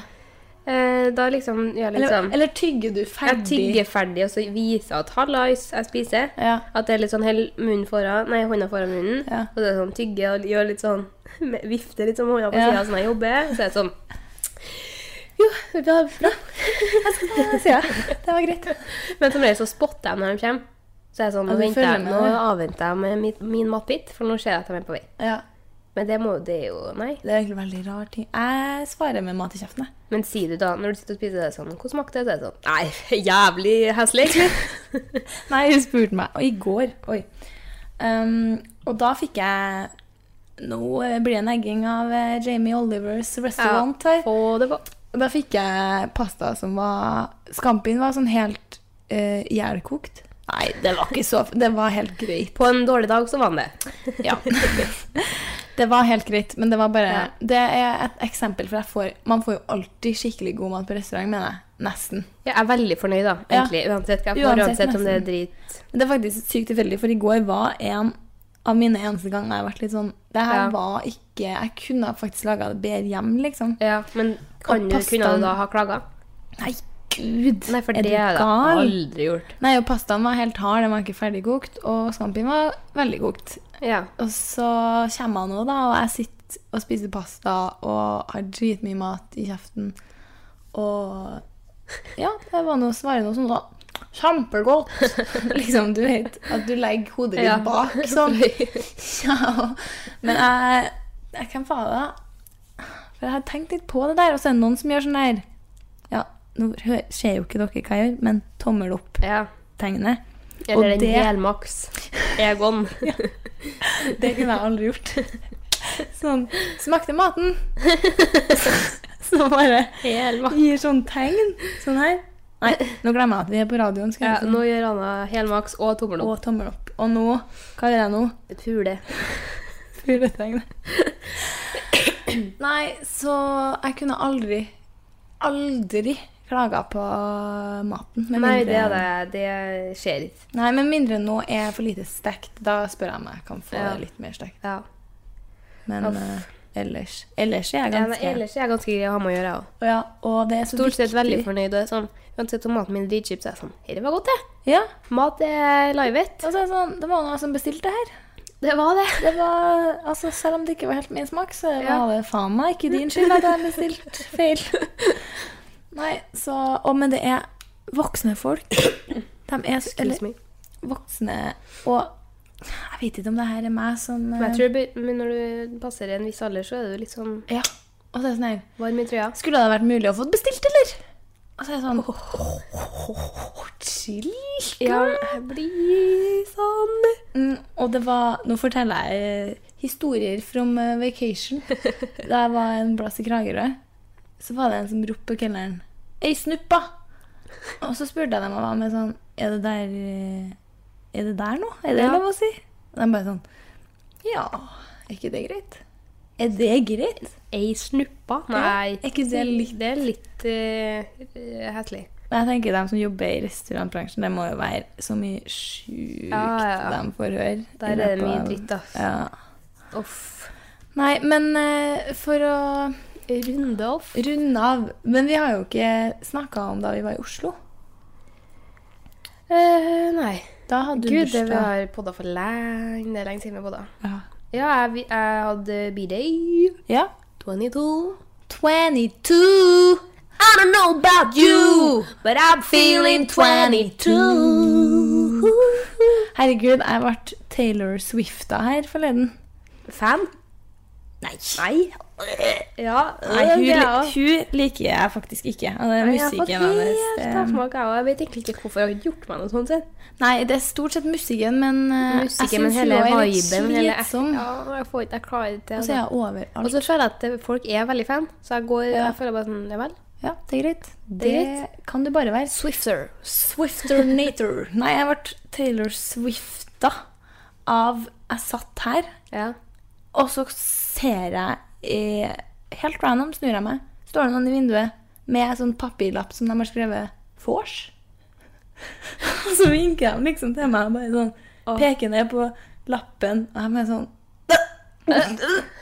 [SPEAKER 1] Eh, da liksom Ja,
[SPEAKER 2] Eller,
[SPEAKER 1] liksom.
[SPEAKER 2] eller tygger du
[SPEAKER 1] Jeg
[SPEAKER 2] ferdig?
[SPEAKER 1] tygger ferdig, og så viser jeg at hallais, jeg spiser.
[SPEAKER 2] Ja.
[SPEAKER 1] At det er litt sånn hell munnen foran, nei, hånda foran munnen.
[SPEAKER 2] Ja.
[SPEAKER 1] Og så er det sånn tygge og gjør litt sånn med- Vifter litt sånn med hånda på
[SPEAKER 2] Ja.
[SPEAKER 1] siden sida sånn jeg jobber. Så er det sånn Jo, det bra. bra.
[SPEAKER 2] Ja, det var greit.
[SPEAKER 1] Men som regel så spotter jeg når de kommer. Så er jeg sånn,
[SPEAKER 2] Ja,
[SPEAKER 1] nå,
[SPEAKER 2] du
[SPEAKER 1] venter jeg,
[SPEAKER 2] følger med,
[SPEAKER 1] nå
[SPEAKER 2] ja.
[SPEAKER 1] avventer jeg med min, min matbit, for nå ser jeg at de er på vei.
[SPEAKER 2] Ja,
[SPEAKER 1] Men det må det er jo Nei.
[SPEAKER 2] Det er egentlig veldig rar ting. Jeg svarer med mat i kjeften. jeg.
[SPEAKER 1] Men sier du da, når du sitter og spiser, det er sånn Hvordan smakte det? Så er det sånn Nei, jævlig heslig, egentlig.
[SPEAKER 2] Nei, hun spurte meg. Og i går Oi. Um, og da fikk jeg Nå eh, blir det en egging av eh, Jamie Olivers restaurant her.
[SPEAKER 1] Få det på.
[SPEAKER 2] Og da fikk jeg pasta som var Skampien var sånn helt eh, jævlkokt. Nei, det var ikke så Det var helt greit.
[SPEAKER 1] På en dårlig dag så var han det.
[SPEAKER 2] Ja. det var helt greit, men det var bare
[SPEAKER 1] Ja.
[SPEAKER 2] Det er et eksempel, for jeg får, man får jo alltid skikkelig god mat på restaurant, mener jeg. Nesten.
[SPEAKER 1] Ja, jeg er veldig fornøyd, da.
[SPEAKER 2] Ja.
[SPEAKER 1] Egentlig. Uansett hva jeg får,
[SPEAKER 2] Uansett,
[SPEAKER 1] uansett om det er
[SPEAKER 2] nesten.
[SPEAKER 1] drit.
[SPEAKER 2] Men det er faktisk sykt tilfeldig, for i går var en av mine eneste ganger jeg har vært litt sånn Det her
[SPEAKER 1] Ja.
[SPEAKER 2] var ikke Jeg kunne faktisk laga det bedre hjem, liksom.
[SPEAKER 1] Ja, men kan
[SPEAKER 2] Og
[SPEAKER 1] du,
[SPEAKER 2] pastaen-
[SPEAKER 1] kunne du da ha klaga?
[SPEAKER 2] Nei, gud!
[SPEAKER 1] Nei, for
[SPEAKER 2] er
[SPEAKER 1] det
[SPEAKER 2] du
[SPEAKER 1] har jeg da
[SPEAKER 2] gal?
[SPEAKER 1] aldri gjort.
[SPEAKER 2] Nei, og pastaen var helt hard, den var ikke ferdigkokt, og skampien var veldig kokt.
[SPEAKER 1] Ja.
[SPEAKER 2] Og så kommer han nå, da, og jeg sitter og spiser pasta og har dritmye mat i kjeften. Og ja, det var noe å svare noe sånn da. Kjempegodt! liksom, du vet at du legger hodet ditt
[SPEAKER 1] Ja.
[SPEAKER 2] bak sånn. Ja. Men jeg, jeg kan faen det. For jeg har tenkt litt på det der, og så er det noen som gjør sånn der Ja, nå hø- ser jo ikke dere hva jeg gjør, men tommel
[SPEAKER 1] ja.
[SPEAKER 2] opp-tegnet. Og
[SPEAKER 1] Eller en
[SPEAKER 2] det-
[SPEAKER 1] helmaks. Egon.
[SPEAKER 2] Det kunne jeg aldri gjort. Sånn Smakte maten! Så bare
[SPEAKER 1] Helmaks.
[SPEAKER 2] gir sånn tegn. Sånn her. Nei, nå glemmer jeg at vi er på radioen. Skal
[SPEAKER 1] Ja,
[SPEAKER 2] jeg si.
[SPEAKER 1] nå gjør Anna helmaks og tommel
[SPEAKER 2] Og
[SPEAKER 1] opp.
[SPEAKER 2] tommel opp. Og nå Hva gjør jeg nå?
[SPEAKER 1] Pule.
[SPEAKER 2] Fugletegnet. Nei, så jeg kunne aldri, aldri klaga på maten. med
[SPEAKER 1] Nei,
[SPEAKER 2] mindre-
[SPEAKER 1] det, er det, det skjer ikke.
[SPEAKER 2] Nei, med mindre nå er for lite stekt. Da spør jeg om jeg kan få
[SPEAKER 1] Ja.
[SPEAKER 2] litt mer stekt.
[SPEAKER 1] Ja.
[SPEAKER 2] Men
[SPEAKER 1] Uff.
[SPEAKER 2] eh, ellers Ellers er jeg
[SPEAKER 1] Ja, men
[SPEAKER 2] ganske
[SPEAKER 1] ellers er jeg ganske grei å ha med å gjøre. jeg også.
[SPEAKER 2] Og ja, og det er så
[SPEAKER 1] Stort sett
[SPEAKER 2] viktig.
[SPEAKER 1] veldig fornøyd. og det er Sånn, uansett om maten min er dritchips, så er jeg sånn Dette var godt, det.
[SPEAKER 2] Ja.
[SPEAKER 1] Mat er livet.
[SPEAKER 2] Og så er det sånn, det var noen som bestilte det her.
[SPEAKER 1] Det var det.
[SPEAKER 2] Det var, altså, selv om det ikke var helt min smak, så var
[SPEAKER 1] Ja.
[SPEAKER 2] det faen meg ikke din skyld at jeg bestilte feil. Nei, så Og men det er voksne folk. De er så- eller,
[SPEAKER 1] Excuse me.
[SPEAKER 2] voksne Og jeg vet ikke om det her er meg som
[SPEAKER 1] Men jeg
[SPEAKER 2] eh,
[SPEAKER 1] tror, det blir- men når du passer en viss alder, så er du litt sånn
[SPEAKER 2] Ja. Og så er det sånn her
[SPEAKER 1] varm i trøya.
[SPEAKER 2] Skulle det vært mulig å få bestilt, eller? Og så er det sånn Chill.
[SPEAKER 1] Ja, jeg blir sånn
[SPEAKER 2] Mm, og det var Nå forteller jeg eh, historier from eh, vacation. Da jeg var en plass i Kragerø, så var det en som ropte på kelneren 'Ei, snuppa!' Og så spurte jeg dem og var med sånn 'Er det der eh, Er det der nå? Er det
[SPEAKER 1] Ja.
[SPEAKER 2] lov å si?' Og de bare sånn 'Ja, er ikke det greit?' Er det greit?
[SPEAKER 1] Ei snuppa? Nei.
[SPEAKER 2] er ikke det litt-
[SPEAKER 1] Det er litt uh, heslig.
[SPEAKER 2] Men jeg tenker de som jobber i restaurantbransjen, det må jo være så mye sjukt
[SPEAKER 1] Ja, ja, ja.
[SPEAKER 2] de får høre. i
[SPEAKER 1] Der er det
[SPEAKER 2] løpet
[SPEAKER 1] mye
[SPEAKER 2] av-
[SPEAKER 1] dritt, ass.
[SPEAKER 2] Ja.
[SPEAKER 1] Off.
[SPEAKER 2] Nei, men eh, for å
[SPEAKER 1] Runde off.
[SPEAKER 2] Runde av. Men vi har jo ikke snakka om da vi var i Oslo.
[SPEAKER 1] Eh, nei.
[SPEAKER 2] Da hadde du
[SPEAKER 1] Gud, det vi
[SPEAKER 2] bursdag.
[SPEAKER 1] har podda for lenge. Det er lenge siden vi har podda.
[SPEAKER 2] Ja.
[SPEAKER 1] Ja, jeg, vi- jeg hadde B-day.
[SPEAKER 2] ja.
[SPEAKER 1] 22.
[SPEAKER 2] 22!
[SPEAKER 1] I don't know about you, but I'm feeling 22.
[SPEAKER 2] Herregud, jeg ble Taylor Swifta her forleden.
[SPEAKER 1] Fan?
[SPEAKER 2] Nei.
[SPEAKER 1] Nei. Ja,
[SPEAKER 2] hun,
[SPEAKER 1] det er
[SPEAKER 2] li-
[SPEAKER 1] jeg.
[SPEAKER 2] hun liker jeg faktisk ikke. Og det er
[SPEAKER 1] Jeg har fått
[SPEAKER 2] musikken eh, hennes.
[SPEAKER 1] helt
[SPEAKER 2] det-
[SPEAKER 1] avsmak, jeg også. Jeg vet egentlig ikke hvorfor jeg har gjort meg noe sånt. sett.
[SPEAKER 2] Nei, det er stort sett musikken, men eh,
[SPEAKER 1] Musikken, men
[SPEAKER 2] jeg syns hun
[SPEAKER 1] hele
[SPEAKER 2] er litt
[SPEAKER 1] viben hele
[SPEAKER 2] slitsom.
[SPEAKER 1] Ja, jeg får ikke, jeg klarer ikke det.
[SPEAKER 2] Og så er
[SPEAKER 1] altså.
[SPEAKER 2] jeg overalt.
[SPEAKER 1] Og så føler jeg at eh, folk er veldig fan, så jeg går
[SPEAKER 2] Ja.
[SPEAKER 1] jeg føler bare sånn Ja vel.
[SPEAKER 2] Ja, det er greit. Det,
[SPEAKER 1] Det er
[SPEAKER 2] kan du bare være.
[SPEAKER 1] Swifter.
[SPEAKER 2] Swifternator. Nei, jeg ble Taylor Swifta av jeg satt her,
[SPEAKER 1] Ja.
[SPEAKER 2] og så ser jeg eh, Helt random snur jeg meg. Står det noen i vinduet med en sånn papirlapp som de har skrevet 'Vors'? Og så vinker de liksom til meg og bare sånn peker ned på lappen, og jeg bare sånn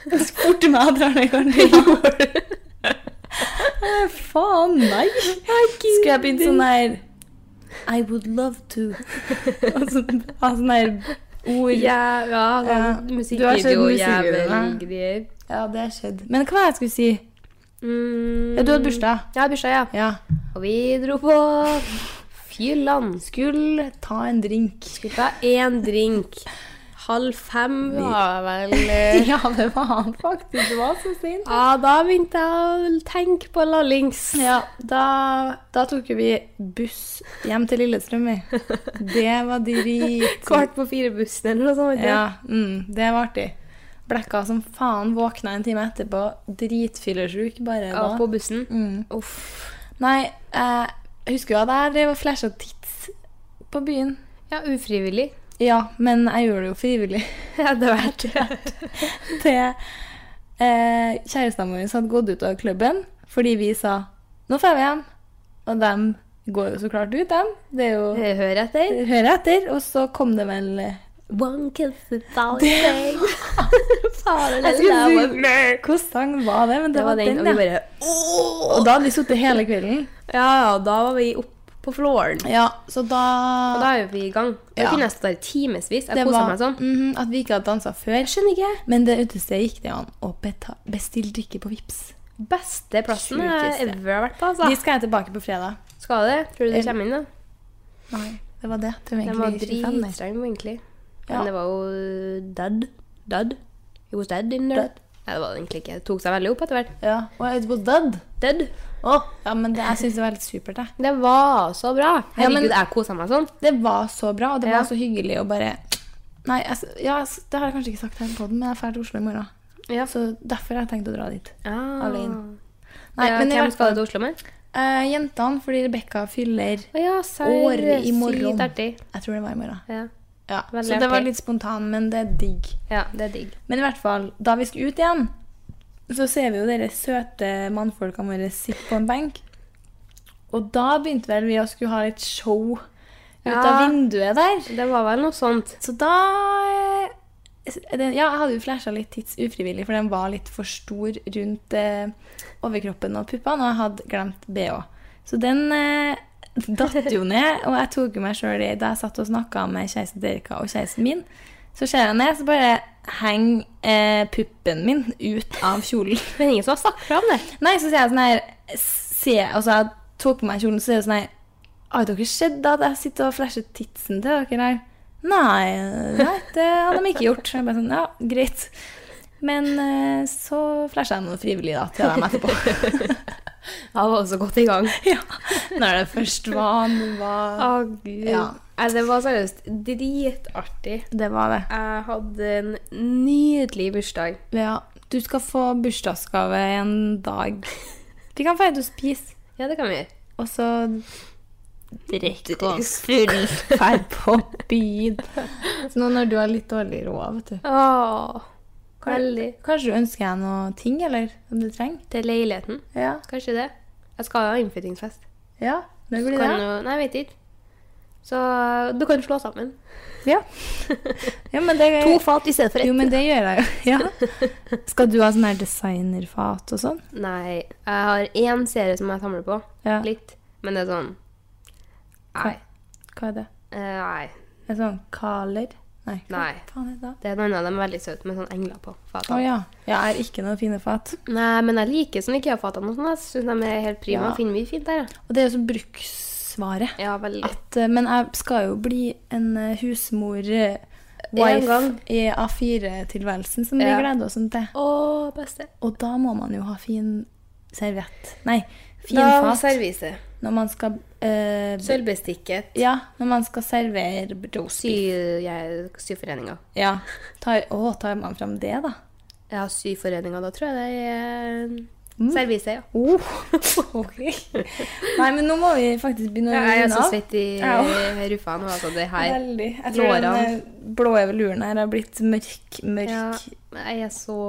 [SPEAKER 2] Så Fort til meg og drar ned i garderoben. Eh, Faen, nei. Skulle jeg begynt sånn her I would love to. Og så- Ha sånn her ord. Ja.
[SPEAKER 1] Ja, ja,
[SPEAKER 2] Ja.
[SPEAKER 1] sånn
[SPEAKER 2] Du har sett
[SPEAKER 1] musikkvideo,
[SPEAKER 2] musikkvideoene.
[SPEAKER 1] jævelgreier.
[SPEAKER 2] det har skjedd. Men hva var det jeg skulle si?
[SPEAKER 1] Mm.
[SPEAKER 2] Ja, du hadde bursdag.
[SPEAKER 1] Ja, bursdag, ja.
[SPEAKER 2] Ja.
[SPEAKER 1] Og vi dro på Fylland.
[SPEAKER 2] Skulle ta en drink.
[SPEAKER 1] Skulle ta én drink. Halv fem var vel eh,
[SPEAKER 2] Ja, det var han faktisk. Det var så sint.
[SPEAKER 1] Ja, da begynte jeg å tenke på lallings.
[SPEAKER 2] Ja, da, da tok jo vi buss hjem til Lillestrøm, vi. Det var drit.
[SPEAKER 1] Kvart på fire-bussen eller noe sånt. Ja.
[SPEAKER 2] Ja, mm, det var artig. Blekka som faen, våkna en time etterpå, dritfyllesyk bare
[SPEAKER 1] Ja,
[SPEAKER 2] da.
[SPEAKER 1] på bussen.
[SPEAKER 2] Mm.
[SPEAKER 1] Uff.
[SPEAKER 2] Nei, eh, jeg husker jo at jeg drev og flasha tits på byen.
[SPEAKER 1] Ja, ufrivillig.
[SPEAKER 2] Ja, men jeg gjorde det jo frivillig.
[SPEAKER 1] Ja, det var det.
[SPEAKER 2] Til eh, kjæresten vår hadde gått ut av klubben fordi vi sa 'nå drar vi hjem'. Og dem går jo så klart ut, dem. Det er jo
[SPEAKER 1] Hør etter.
[SPEAKER 2] Hører etter. Og så kom det vel eh,
[SPEAKER 1] One kiss a thousand. Faen, det
[SPEAKER 2] Jeg
[SPEAKER 1] der
[SPEAKER 2] skulle
[SPEAKER 1] var-
[SPEAKER 2] si Hvilken sang var det? Men det,
[SPEAKER 1] Det var den, og vi
[SPEAKER 2] ja.
[SPEAKER 1] bare
[SPEAKER 2] Og da hadde vi sittet hele kvelden.
[SPEAKER 1] Ja, ja, da var vi opp på flåren.
[SPEAKER 2] Ja, så da,
[SPEAKER 1] Og da er vi i gang. Jeg
[SPEAKER 2] Ja.
[SPEAKER 1] kunne nesten stått der i timevis. Jeg
[SPEAKER 2] Det
[SPEAKER 1] koset
[SPEAKER 2] var
[SPEAKER 1] meg sånn.
[SPEAKER 2] mhm, at vi ikke hadde dansa før.
[SPEAKER 1] Skjønner ikke.
[SPEAKER 2] Men det utestedet gikk det an å beta- bestille drikke på Vips.
[SPEAKER 1] Beste plassen jeg
[SPEAKER 2] Sjukeste.
[SPEAKER 1] ever har vært på,
[SPEAKER 2] Vi
[SPEAKER 1] altså.
[SPEAKER 2] skal tilbake på fredag.
[SPEAKER 1] Skal det? Tror du det kommer inn, da?
[SPEAKER 2] Nei, det var det. Det var
[SPEAKER 1] Den var
[SPEAKER 2] egentlig 25 der.
[SPEAKER 1] dritstreng, egentlig.
[SPEAKER 2] Ja.
[SPEAKER 1] Men det var jo dead. Dead. He was dead in there.
[SPEAKER 2] Dead.
[SPEAKER 1] Nei, det var det egentlig ikke. Det tok seg veldig opp etter hvert.
[SPEAKER 2] Ja, og jeg er ute på Dødd.
[SPEAKER 1] Dead.
[SPEAKER 2] Ja, men det, jeg syns det var litt supert, jeg.
[SPEAKER 1] Det var så bra.
[SPEAKER 2] Ja, men-
[SPEAKER 1] Herregud, jeg koset meg sånn.
[SPEAKER 2] Det var så bra, og det
[SPEAKER 1] Ja.
[SPEAKER 2] var så hyggelig å bare Nei, jeg, s- ja, jeg s- det har jeg kanskje ikke sagt her på den, men jeg drar til Oslo i morgen.
[SPEAKER 1] Ja.
[SPEAKER 2] Så derfor har jeg tenkt å dra dit.
[SPEAKER 1] Ah.
[SPEAKER 2] Alene.
[SPEAKER 1] Nei,
[SPEAKER 2] Nei, men i
[SPEAKER 1] hvem
[SPEAKER 2] hvert
[SPEAKER 1] skal
[SPEAKER 2] fall
[SPEAKER 1] du til Oslo med?
[SPEAKER 2] eh, Jentene, fordi Rebekka fyller
[SPEAKER 1] Å ja,
[SPEAKER 2] År
[SPEAKER 1] serr.
[SPEAKER 2] i
[SPEAKER 1] Sykt
[SPEAKER 2] morgen.
[SPEAKER 1] artig.
[SPEAKER 2] Jeg tror det var i morgen.
[SPEAKER 1] Ja.
[SPEAKER 2] Ja,
[SPEAKER 1] Veldig
[SPEAKER 2] Så det var
[SPEAKER 1] artig.
[SPEAKER 2] litt spontan, men det er digg.
[SPEAKER 1] ja, det er digg.
[SPEAKER 2] Men i hvert fall, da vi skulle ut igjen, så ser vi jo dere søte mannfolkene våre sitte på en benk. Og da begynte vel vi å skulle ha litt show ut av
[SPEAKER 1] Ja.
[SPEAKER 2] vinduet der.
[SPEAKER 1] Det var vel noe sånt.
[SPEAKER 2] Så da eh, den, Ja, jeg hadde jo flasha litt tids ufrivillig, for den var litt for stor rundt eh, overkroppen og puppene, og jeg hadde glemt BH. Så den eh, datt jo ned, og jeg tok jo meg sjøl i Da jeg satt og snakka med kjæresten Derika og kjæresten min, så ser jeg ned, så bare henger eh, puppen min ut av kjolen.
[SPEAKER 1] Men ingen som har snakket om det.
[SPEAKER 2] Nei, så sier jeg sånn her se, Altså, jeg tok på meg kjolen, så er det sånn her Har dere sett at jeg sitter og flasher titsen til dere her? Nei, nei, det hadde de ikke gjort. Så jeg bare sånn, ja, greit. Men eh, så flasha jeg noe frivillig da, til dem etterpå.
[SPEAKER 1] Jeg var også godt i gang.
[SPEAKER 2] ja. Når det først var,
[SPEAKER 1] Å,
[SPEAKER 2] nå var
[SPEAKER 1] gud.
[SPEAKER 2] Ja.
[SPEAKER 1] Nei, det var seriøst dritartig.
[SPEAKER 2] Det var det.
[SPEAKER 1] Jeg hadde en nydelig bursdag.
[SPEAKER 2] Ja, du skal få bursdagsgave en dag. Vi kan feire til å spise,
[SPEAKER 1] Ja, det kan vi gjøre.
[SPEAKER 2] og så
[SPEAKER 1] Drikke
[SPEAKER 2] oss full ferd på byen. Så nå når du har litt dårlig råd, vet du
[SPEAKER 1] Åh,
[SPEAKER 2] Kan-
[SPEAKER 1] veldig.
[SPEAKER 2] Kanskje du ønsker jeg noe ting, eller? Om du trenger?
[SPEAKER 1] Til leiligheten.
[SPEAKER 2] Ja.
[SPEAKER 1] Kanskje det. Jeg skal ha innflyttingsfest.
[SPEAKER 2] ja. Når blir
[SPEAKER 1] Kan
[SPEAKER 2] det?
[SPEAKER 1] jo- Nei, jeg vet ikke. Så du kan slå sammen.
[SPEAKER 2] Ja. ja, men det
[SPEAKER 1] fat i stedet for
[SPEAKER 2] Jo, men det gjør jeg jo. Ja. Skal du ha sånn her designerfat og sånn?
[SPEAKER 1] Nei, jeg har én serie som jeg samler på.
[SPEAKER 2] Ja.
[SPEAKER 1] Litt. Men det er sånn
[SPEAKER 2] Hva,
[SPEAKER 1] Nei.
[SPEAKER 2] hva er det?
[SPEAKER 1] eh, nei.
[SPEAKER 2] Er det sånn kaler? Nei. Hva
[SPEAKER 1] Nei.
[SPEAKER 2] faen er det da?
[SPEAKER 1] Det er noen av dem er veldig søte med sånn engler på
[SPEAKER 2] Å
[SPEAKER 1] fatene.
[SPEAKER 2] ja. Jeg er ikke noen fine fat.
[SPEAKER 1] Nei, men jeg liker sånn IKEA-fatene og sånn. Jeg syns de er helt prima.
[SPEAKER 2] Ja.
[SPEAKER 1] Finner vi fint der, ja.
[SPEAKER 2] Og det er jo så bruksvare.
[SPEAKER 1] Ja, veldig.
[SPEAKER 2] At, eh, men jeg skal jo bli en eh, husmor eh,
[SPEAKER 1] En
[SPEAKER 2] Wife
[SPEAKER 1] gang.
[SPEAKER 2] i A4-tilværelsen som vi
[SPEAKER 1] Ja.
[SPEAKER 2] gleder oss sånn til.
[SPEAKER 1] Å, beste.
[SPEAKER 2] Og da må man jo ha fin serviett. Nei, fin
[SPEAKER 1] Da
[SPEAKER 2] fat.
[SPEAKER 1] servise.
[SPEAKER 2] Når man skal eh,
[SPEAKER 1] Sølvbestikket.
[SPEAKER 2] Ja, når man skal servere roastbiff.
[SPEAKER 1] Sy, jeg, syforeninga.
[SPEAKER 2] Ja. Tar, å, tar man fram det, da?
[SPEAKER 1] Ja, syforeninga, da tror jeg det er mm. Servise, ja.
[SPEAKER 2] Oh, ok. Nei, men nå må vi faktisk begynne å
[SPEAKER 1] Jeg er
[SPEAKER 2] runde
[SPEAKER 1] så
[SPEAKER 2] av.
[SPEAKER 1] svett i
[SPEAKER 2] Au.
[SPEAKER 1] ruffa nå, altså. Det her
[SPEAKER 2] Veldig. Jeg tror den
[SPEAKER 1] Lårene.
[SPEAKER 2] eh, blå eveluren her har blitt mørk, mørk.
[SPEAKER 1] Ja, Jeg er så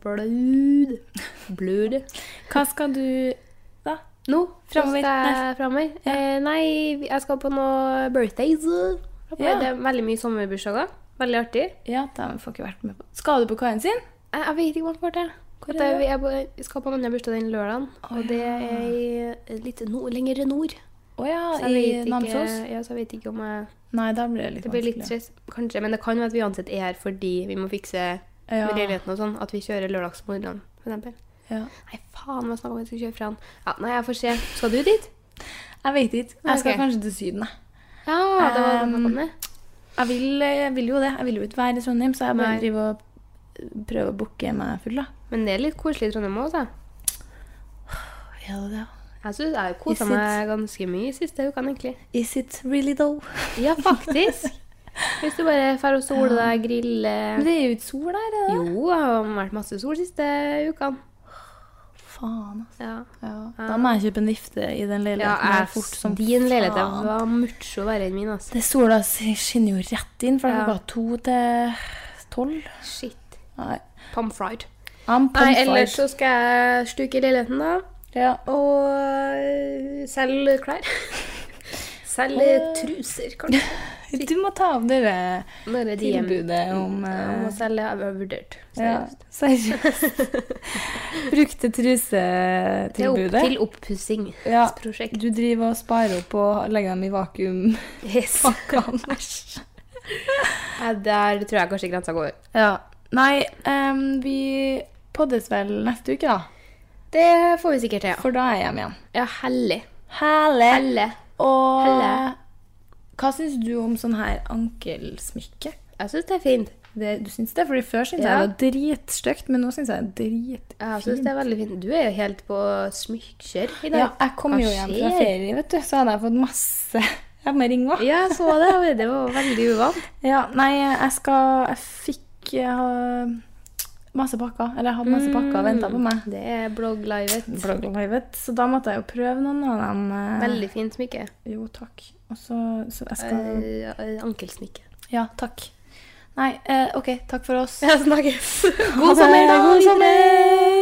[SPEAKER 1] blød. Blød.
[SPEAKER 2] Hva skal du
[SPEAKER 1] Nå
[SPEAKER 2] Fremover.
[SPEAKER 1] fremover. fremover. Eh, nei, jeg skal på noe birthdays.
[SPEAKER 2] Ja.
[SPEAKER 1] Det er veldig mye sommerbursdager. Veldig artig.
[SPEAKER 2] Ja, den får ikke vært med på. Skal du på kaien sin?
[SPEAKER 1] Jeg, jeg vet ikke hva det er.
[SPEAKER 2] Hvor
[SPEAKER 1] At
[SPEAKER 2] er
[SPEAKER 1] jeg, jeg, på- jeg skal på en annen bursdag den lørdagen, og det er litt nord, lenger nord.
[SPEAKER 2] Å ja,
[SPEAKER 1] Så jeg
[SPEAKER 2] i
[SPEAKER 1] vet ikke,
[SPEAKER 2] Namsos?
[SPEAKER 1] ja, så jeg vet ikke om jeg
[SPEAKER 2] Nei, da blir det litt
[SPEAKER 1] Det blir litt
[SPEAKER 2] vanskelig.
[SPEAKER 1] stress, kanskje. Men det kan være at vi uansett er her fordi vi må fikse
[SPEAKER 2] Ja.
[SPEAKER 1] med leiligheten og sånn. At vi kjører lørdagsmorgen, for eksempel.
[SPEAKER 2] Ja.
[SPEAKER 1] Nei, faen, hva snakka om at jeg skulle kjøre fra han? Ja, nei, jeg får se. Skal du dit?
[SPEAKER 2] Jeg vet ikke. Jeg skal
[SPEAKER 1] Ok.
[SPEAKER 2] kanskje til Syden, jeg.
[SPEAKER 1] Ja, det var
[SPEAKER 2] Um,
[SPEAKER 1] um, det.
[SPEAKER 2] Jeg vil, eh, jeg vil jo det. Jeg vil jo ikke være i Trondheim, så jeg bare
[SPEAKER 1] Nei.
[SPEAKER 2] driver og prøver å booke meg full, da.
[SPEAKER 1] Men det er litt koselig i Trondheim òg, da.
[SPEAKER 2] Ja, det er.
[SPEAKER 1] Jeg syns jeg kosa
[SPEAKER 2] Is it-
[SPEAKER 1] meg ganske mye siste ukene, egentlig.
[SPEAKER 2] Is it really though?
[SPEAKER 1] Ja, faktisk. Hvis du bare drar og soler deg, griller
[SPEAKER 2] Men det er jo ikke sol der, er det?
[SPEAKER 1] Jo, det har vært masse sol siste ukene.
[SPEAKER 2] Faen, altså.
[SPEAKER 1] Ja.
[SPEAKER 2] Ja. Da må jeg kjøpe en vifte i den leiligheten
[SPEAKER 1] Ja,
[SPEAKER 2] her
[SPEAKER 1] jeg,
[SPEAKER 2] fort som
[SPEAKER 1] din leilighet
[SPEAKER 2] faen.
[SPEAKER 1] var mucho verre enn min, altså.
[SPEAKER 2] Det sola skinner jo rett inn, for det er
[SPEAKER 1] Ja.
[SPEAKER 2] klokka to til tolv.
[SPEAKER 1] Shit.
[SPEAKER 2] Nei,
[SPEAKER 1] Pomfried.
[SPEAKER 2] I'm
[SPEAKER 1] Nei,
[SPEAKER 2] pumped.
[SPEAKER 1] ellers så skal jeg stuke i leiligheten, da.
[SPEAKER 2] ja.
[SPEAKER 1] Og øh, selge klær. selge truser, kanskje.
[SPEAKER 2] Du må ta opp det der
[SPEAKER 1] Når er de hjemme?
[SPEAKER 2] tilbudet om
[SPEAKER 1] Jeg må
[SPEAKER 2] eh,
[SPEAKER 1] selge, jeg har vurdert.
[SPEAKER 2] ja,
[SPEAKER 1] seriøst.
[SPEAKER 2] Seriøst. Brukte
[SPEAKER 1] Det er opp
[SPEAKER 2] trusetilbudet.
[SPEAKER 1] til oppussingsprosjekt.
[SPEAKER 2] Ja, du driver og sparer opp og legger dem i vakuumpakkene.
[SPEAKER 1] Yes. Ja, der tror jeg kanskje grensa går.
[SPEAKER 2] ja. Nei, em, vi poddes vel neste uke, da.
[SPEAKER 1] Det får vi sikkert til, ja.
[SPEAKER 2] For da er jeg hjemme igjen.
[SPEAKER 1] Ja, hellig.
[SPEAKER 2] Herlig.
[SPEAKER 1] Helle.
[SPEAKER 2] Og
[SPEAKER 1] Helle.
[SPEAKER 2] hva syns du om sånn her ankelsmykke?
[SPEAKER 1] Jeg syns det er fint.
[SPEAKER 2] Det, du syns det? Fordi før syntes
[SPEAKER 1] Ja.
[SPEAKER 2] jeg det var dritstygt, men nå syns jeg det er dritfint.
[SPEAKER 1] Jeg synes det er veldig fint. Du er jo helt på smykkjør i
[SPEAKER 2] Ja,
[SPEAKER 1] dag.
[SPEAKER 2] jeg kom
[SPEAKER 1] Hva
[SPEAKER 2] jo hjem fra
[SPEAKER 1] skjer?
[SPEAKER 2] ferie, vet du, så hadde jeg fått masse Jeg må ringe òg.
[SPEAKER 1] Ja, jeg så det. Det var veldig uvant.
[SPEAKER 2] Ja, nei, jeg skal Jeg fikk jeg har masse pakker. Eller jeg hadde masse pakker og venta på meg.
[SPEAKER 1] Det er blogglivet.
[SPEAKER 2] Blogglivet. Så da måtte jeg jo prøve noen av dem. eh,
[SPEAKER 1] Veldig fint smykke.
[SPEAKER 2] Jo, takk. Og så, så jeg skal
[SPEAKER 1] Eh, Ankelsmykke.
[SPEAKER 2] Ja, takk. Nei, eh, OK. Takk for oss.
[SPEAKER 1] Ja, snakkes.
[SPEAKER 2] God sommer, da! God sommer!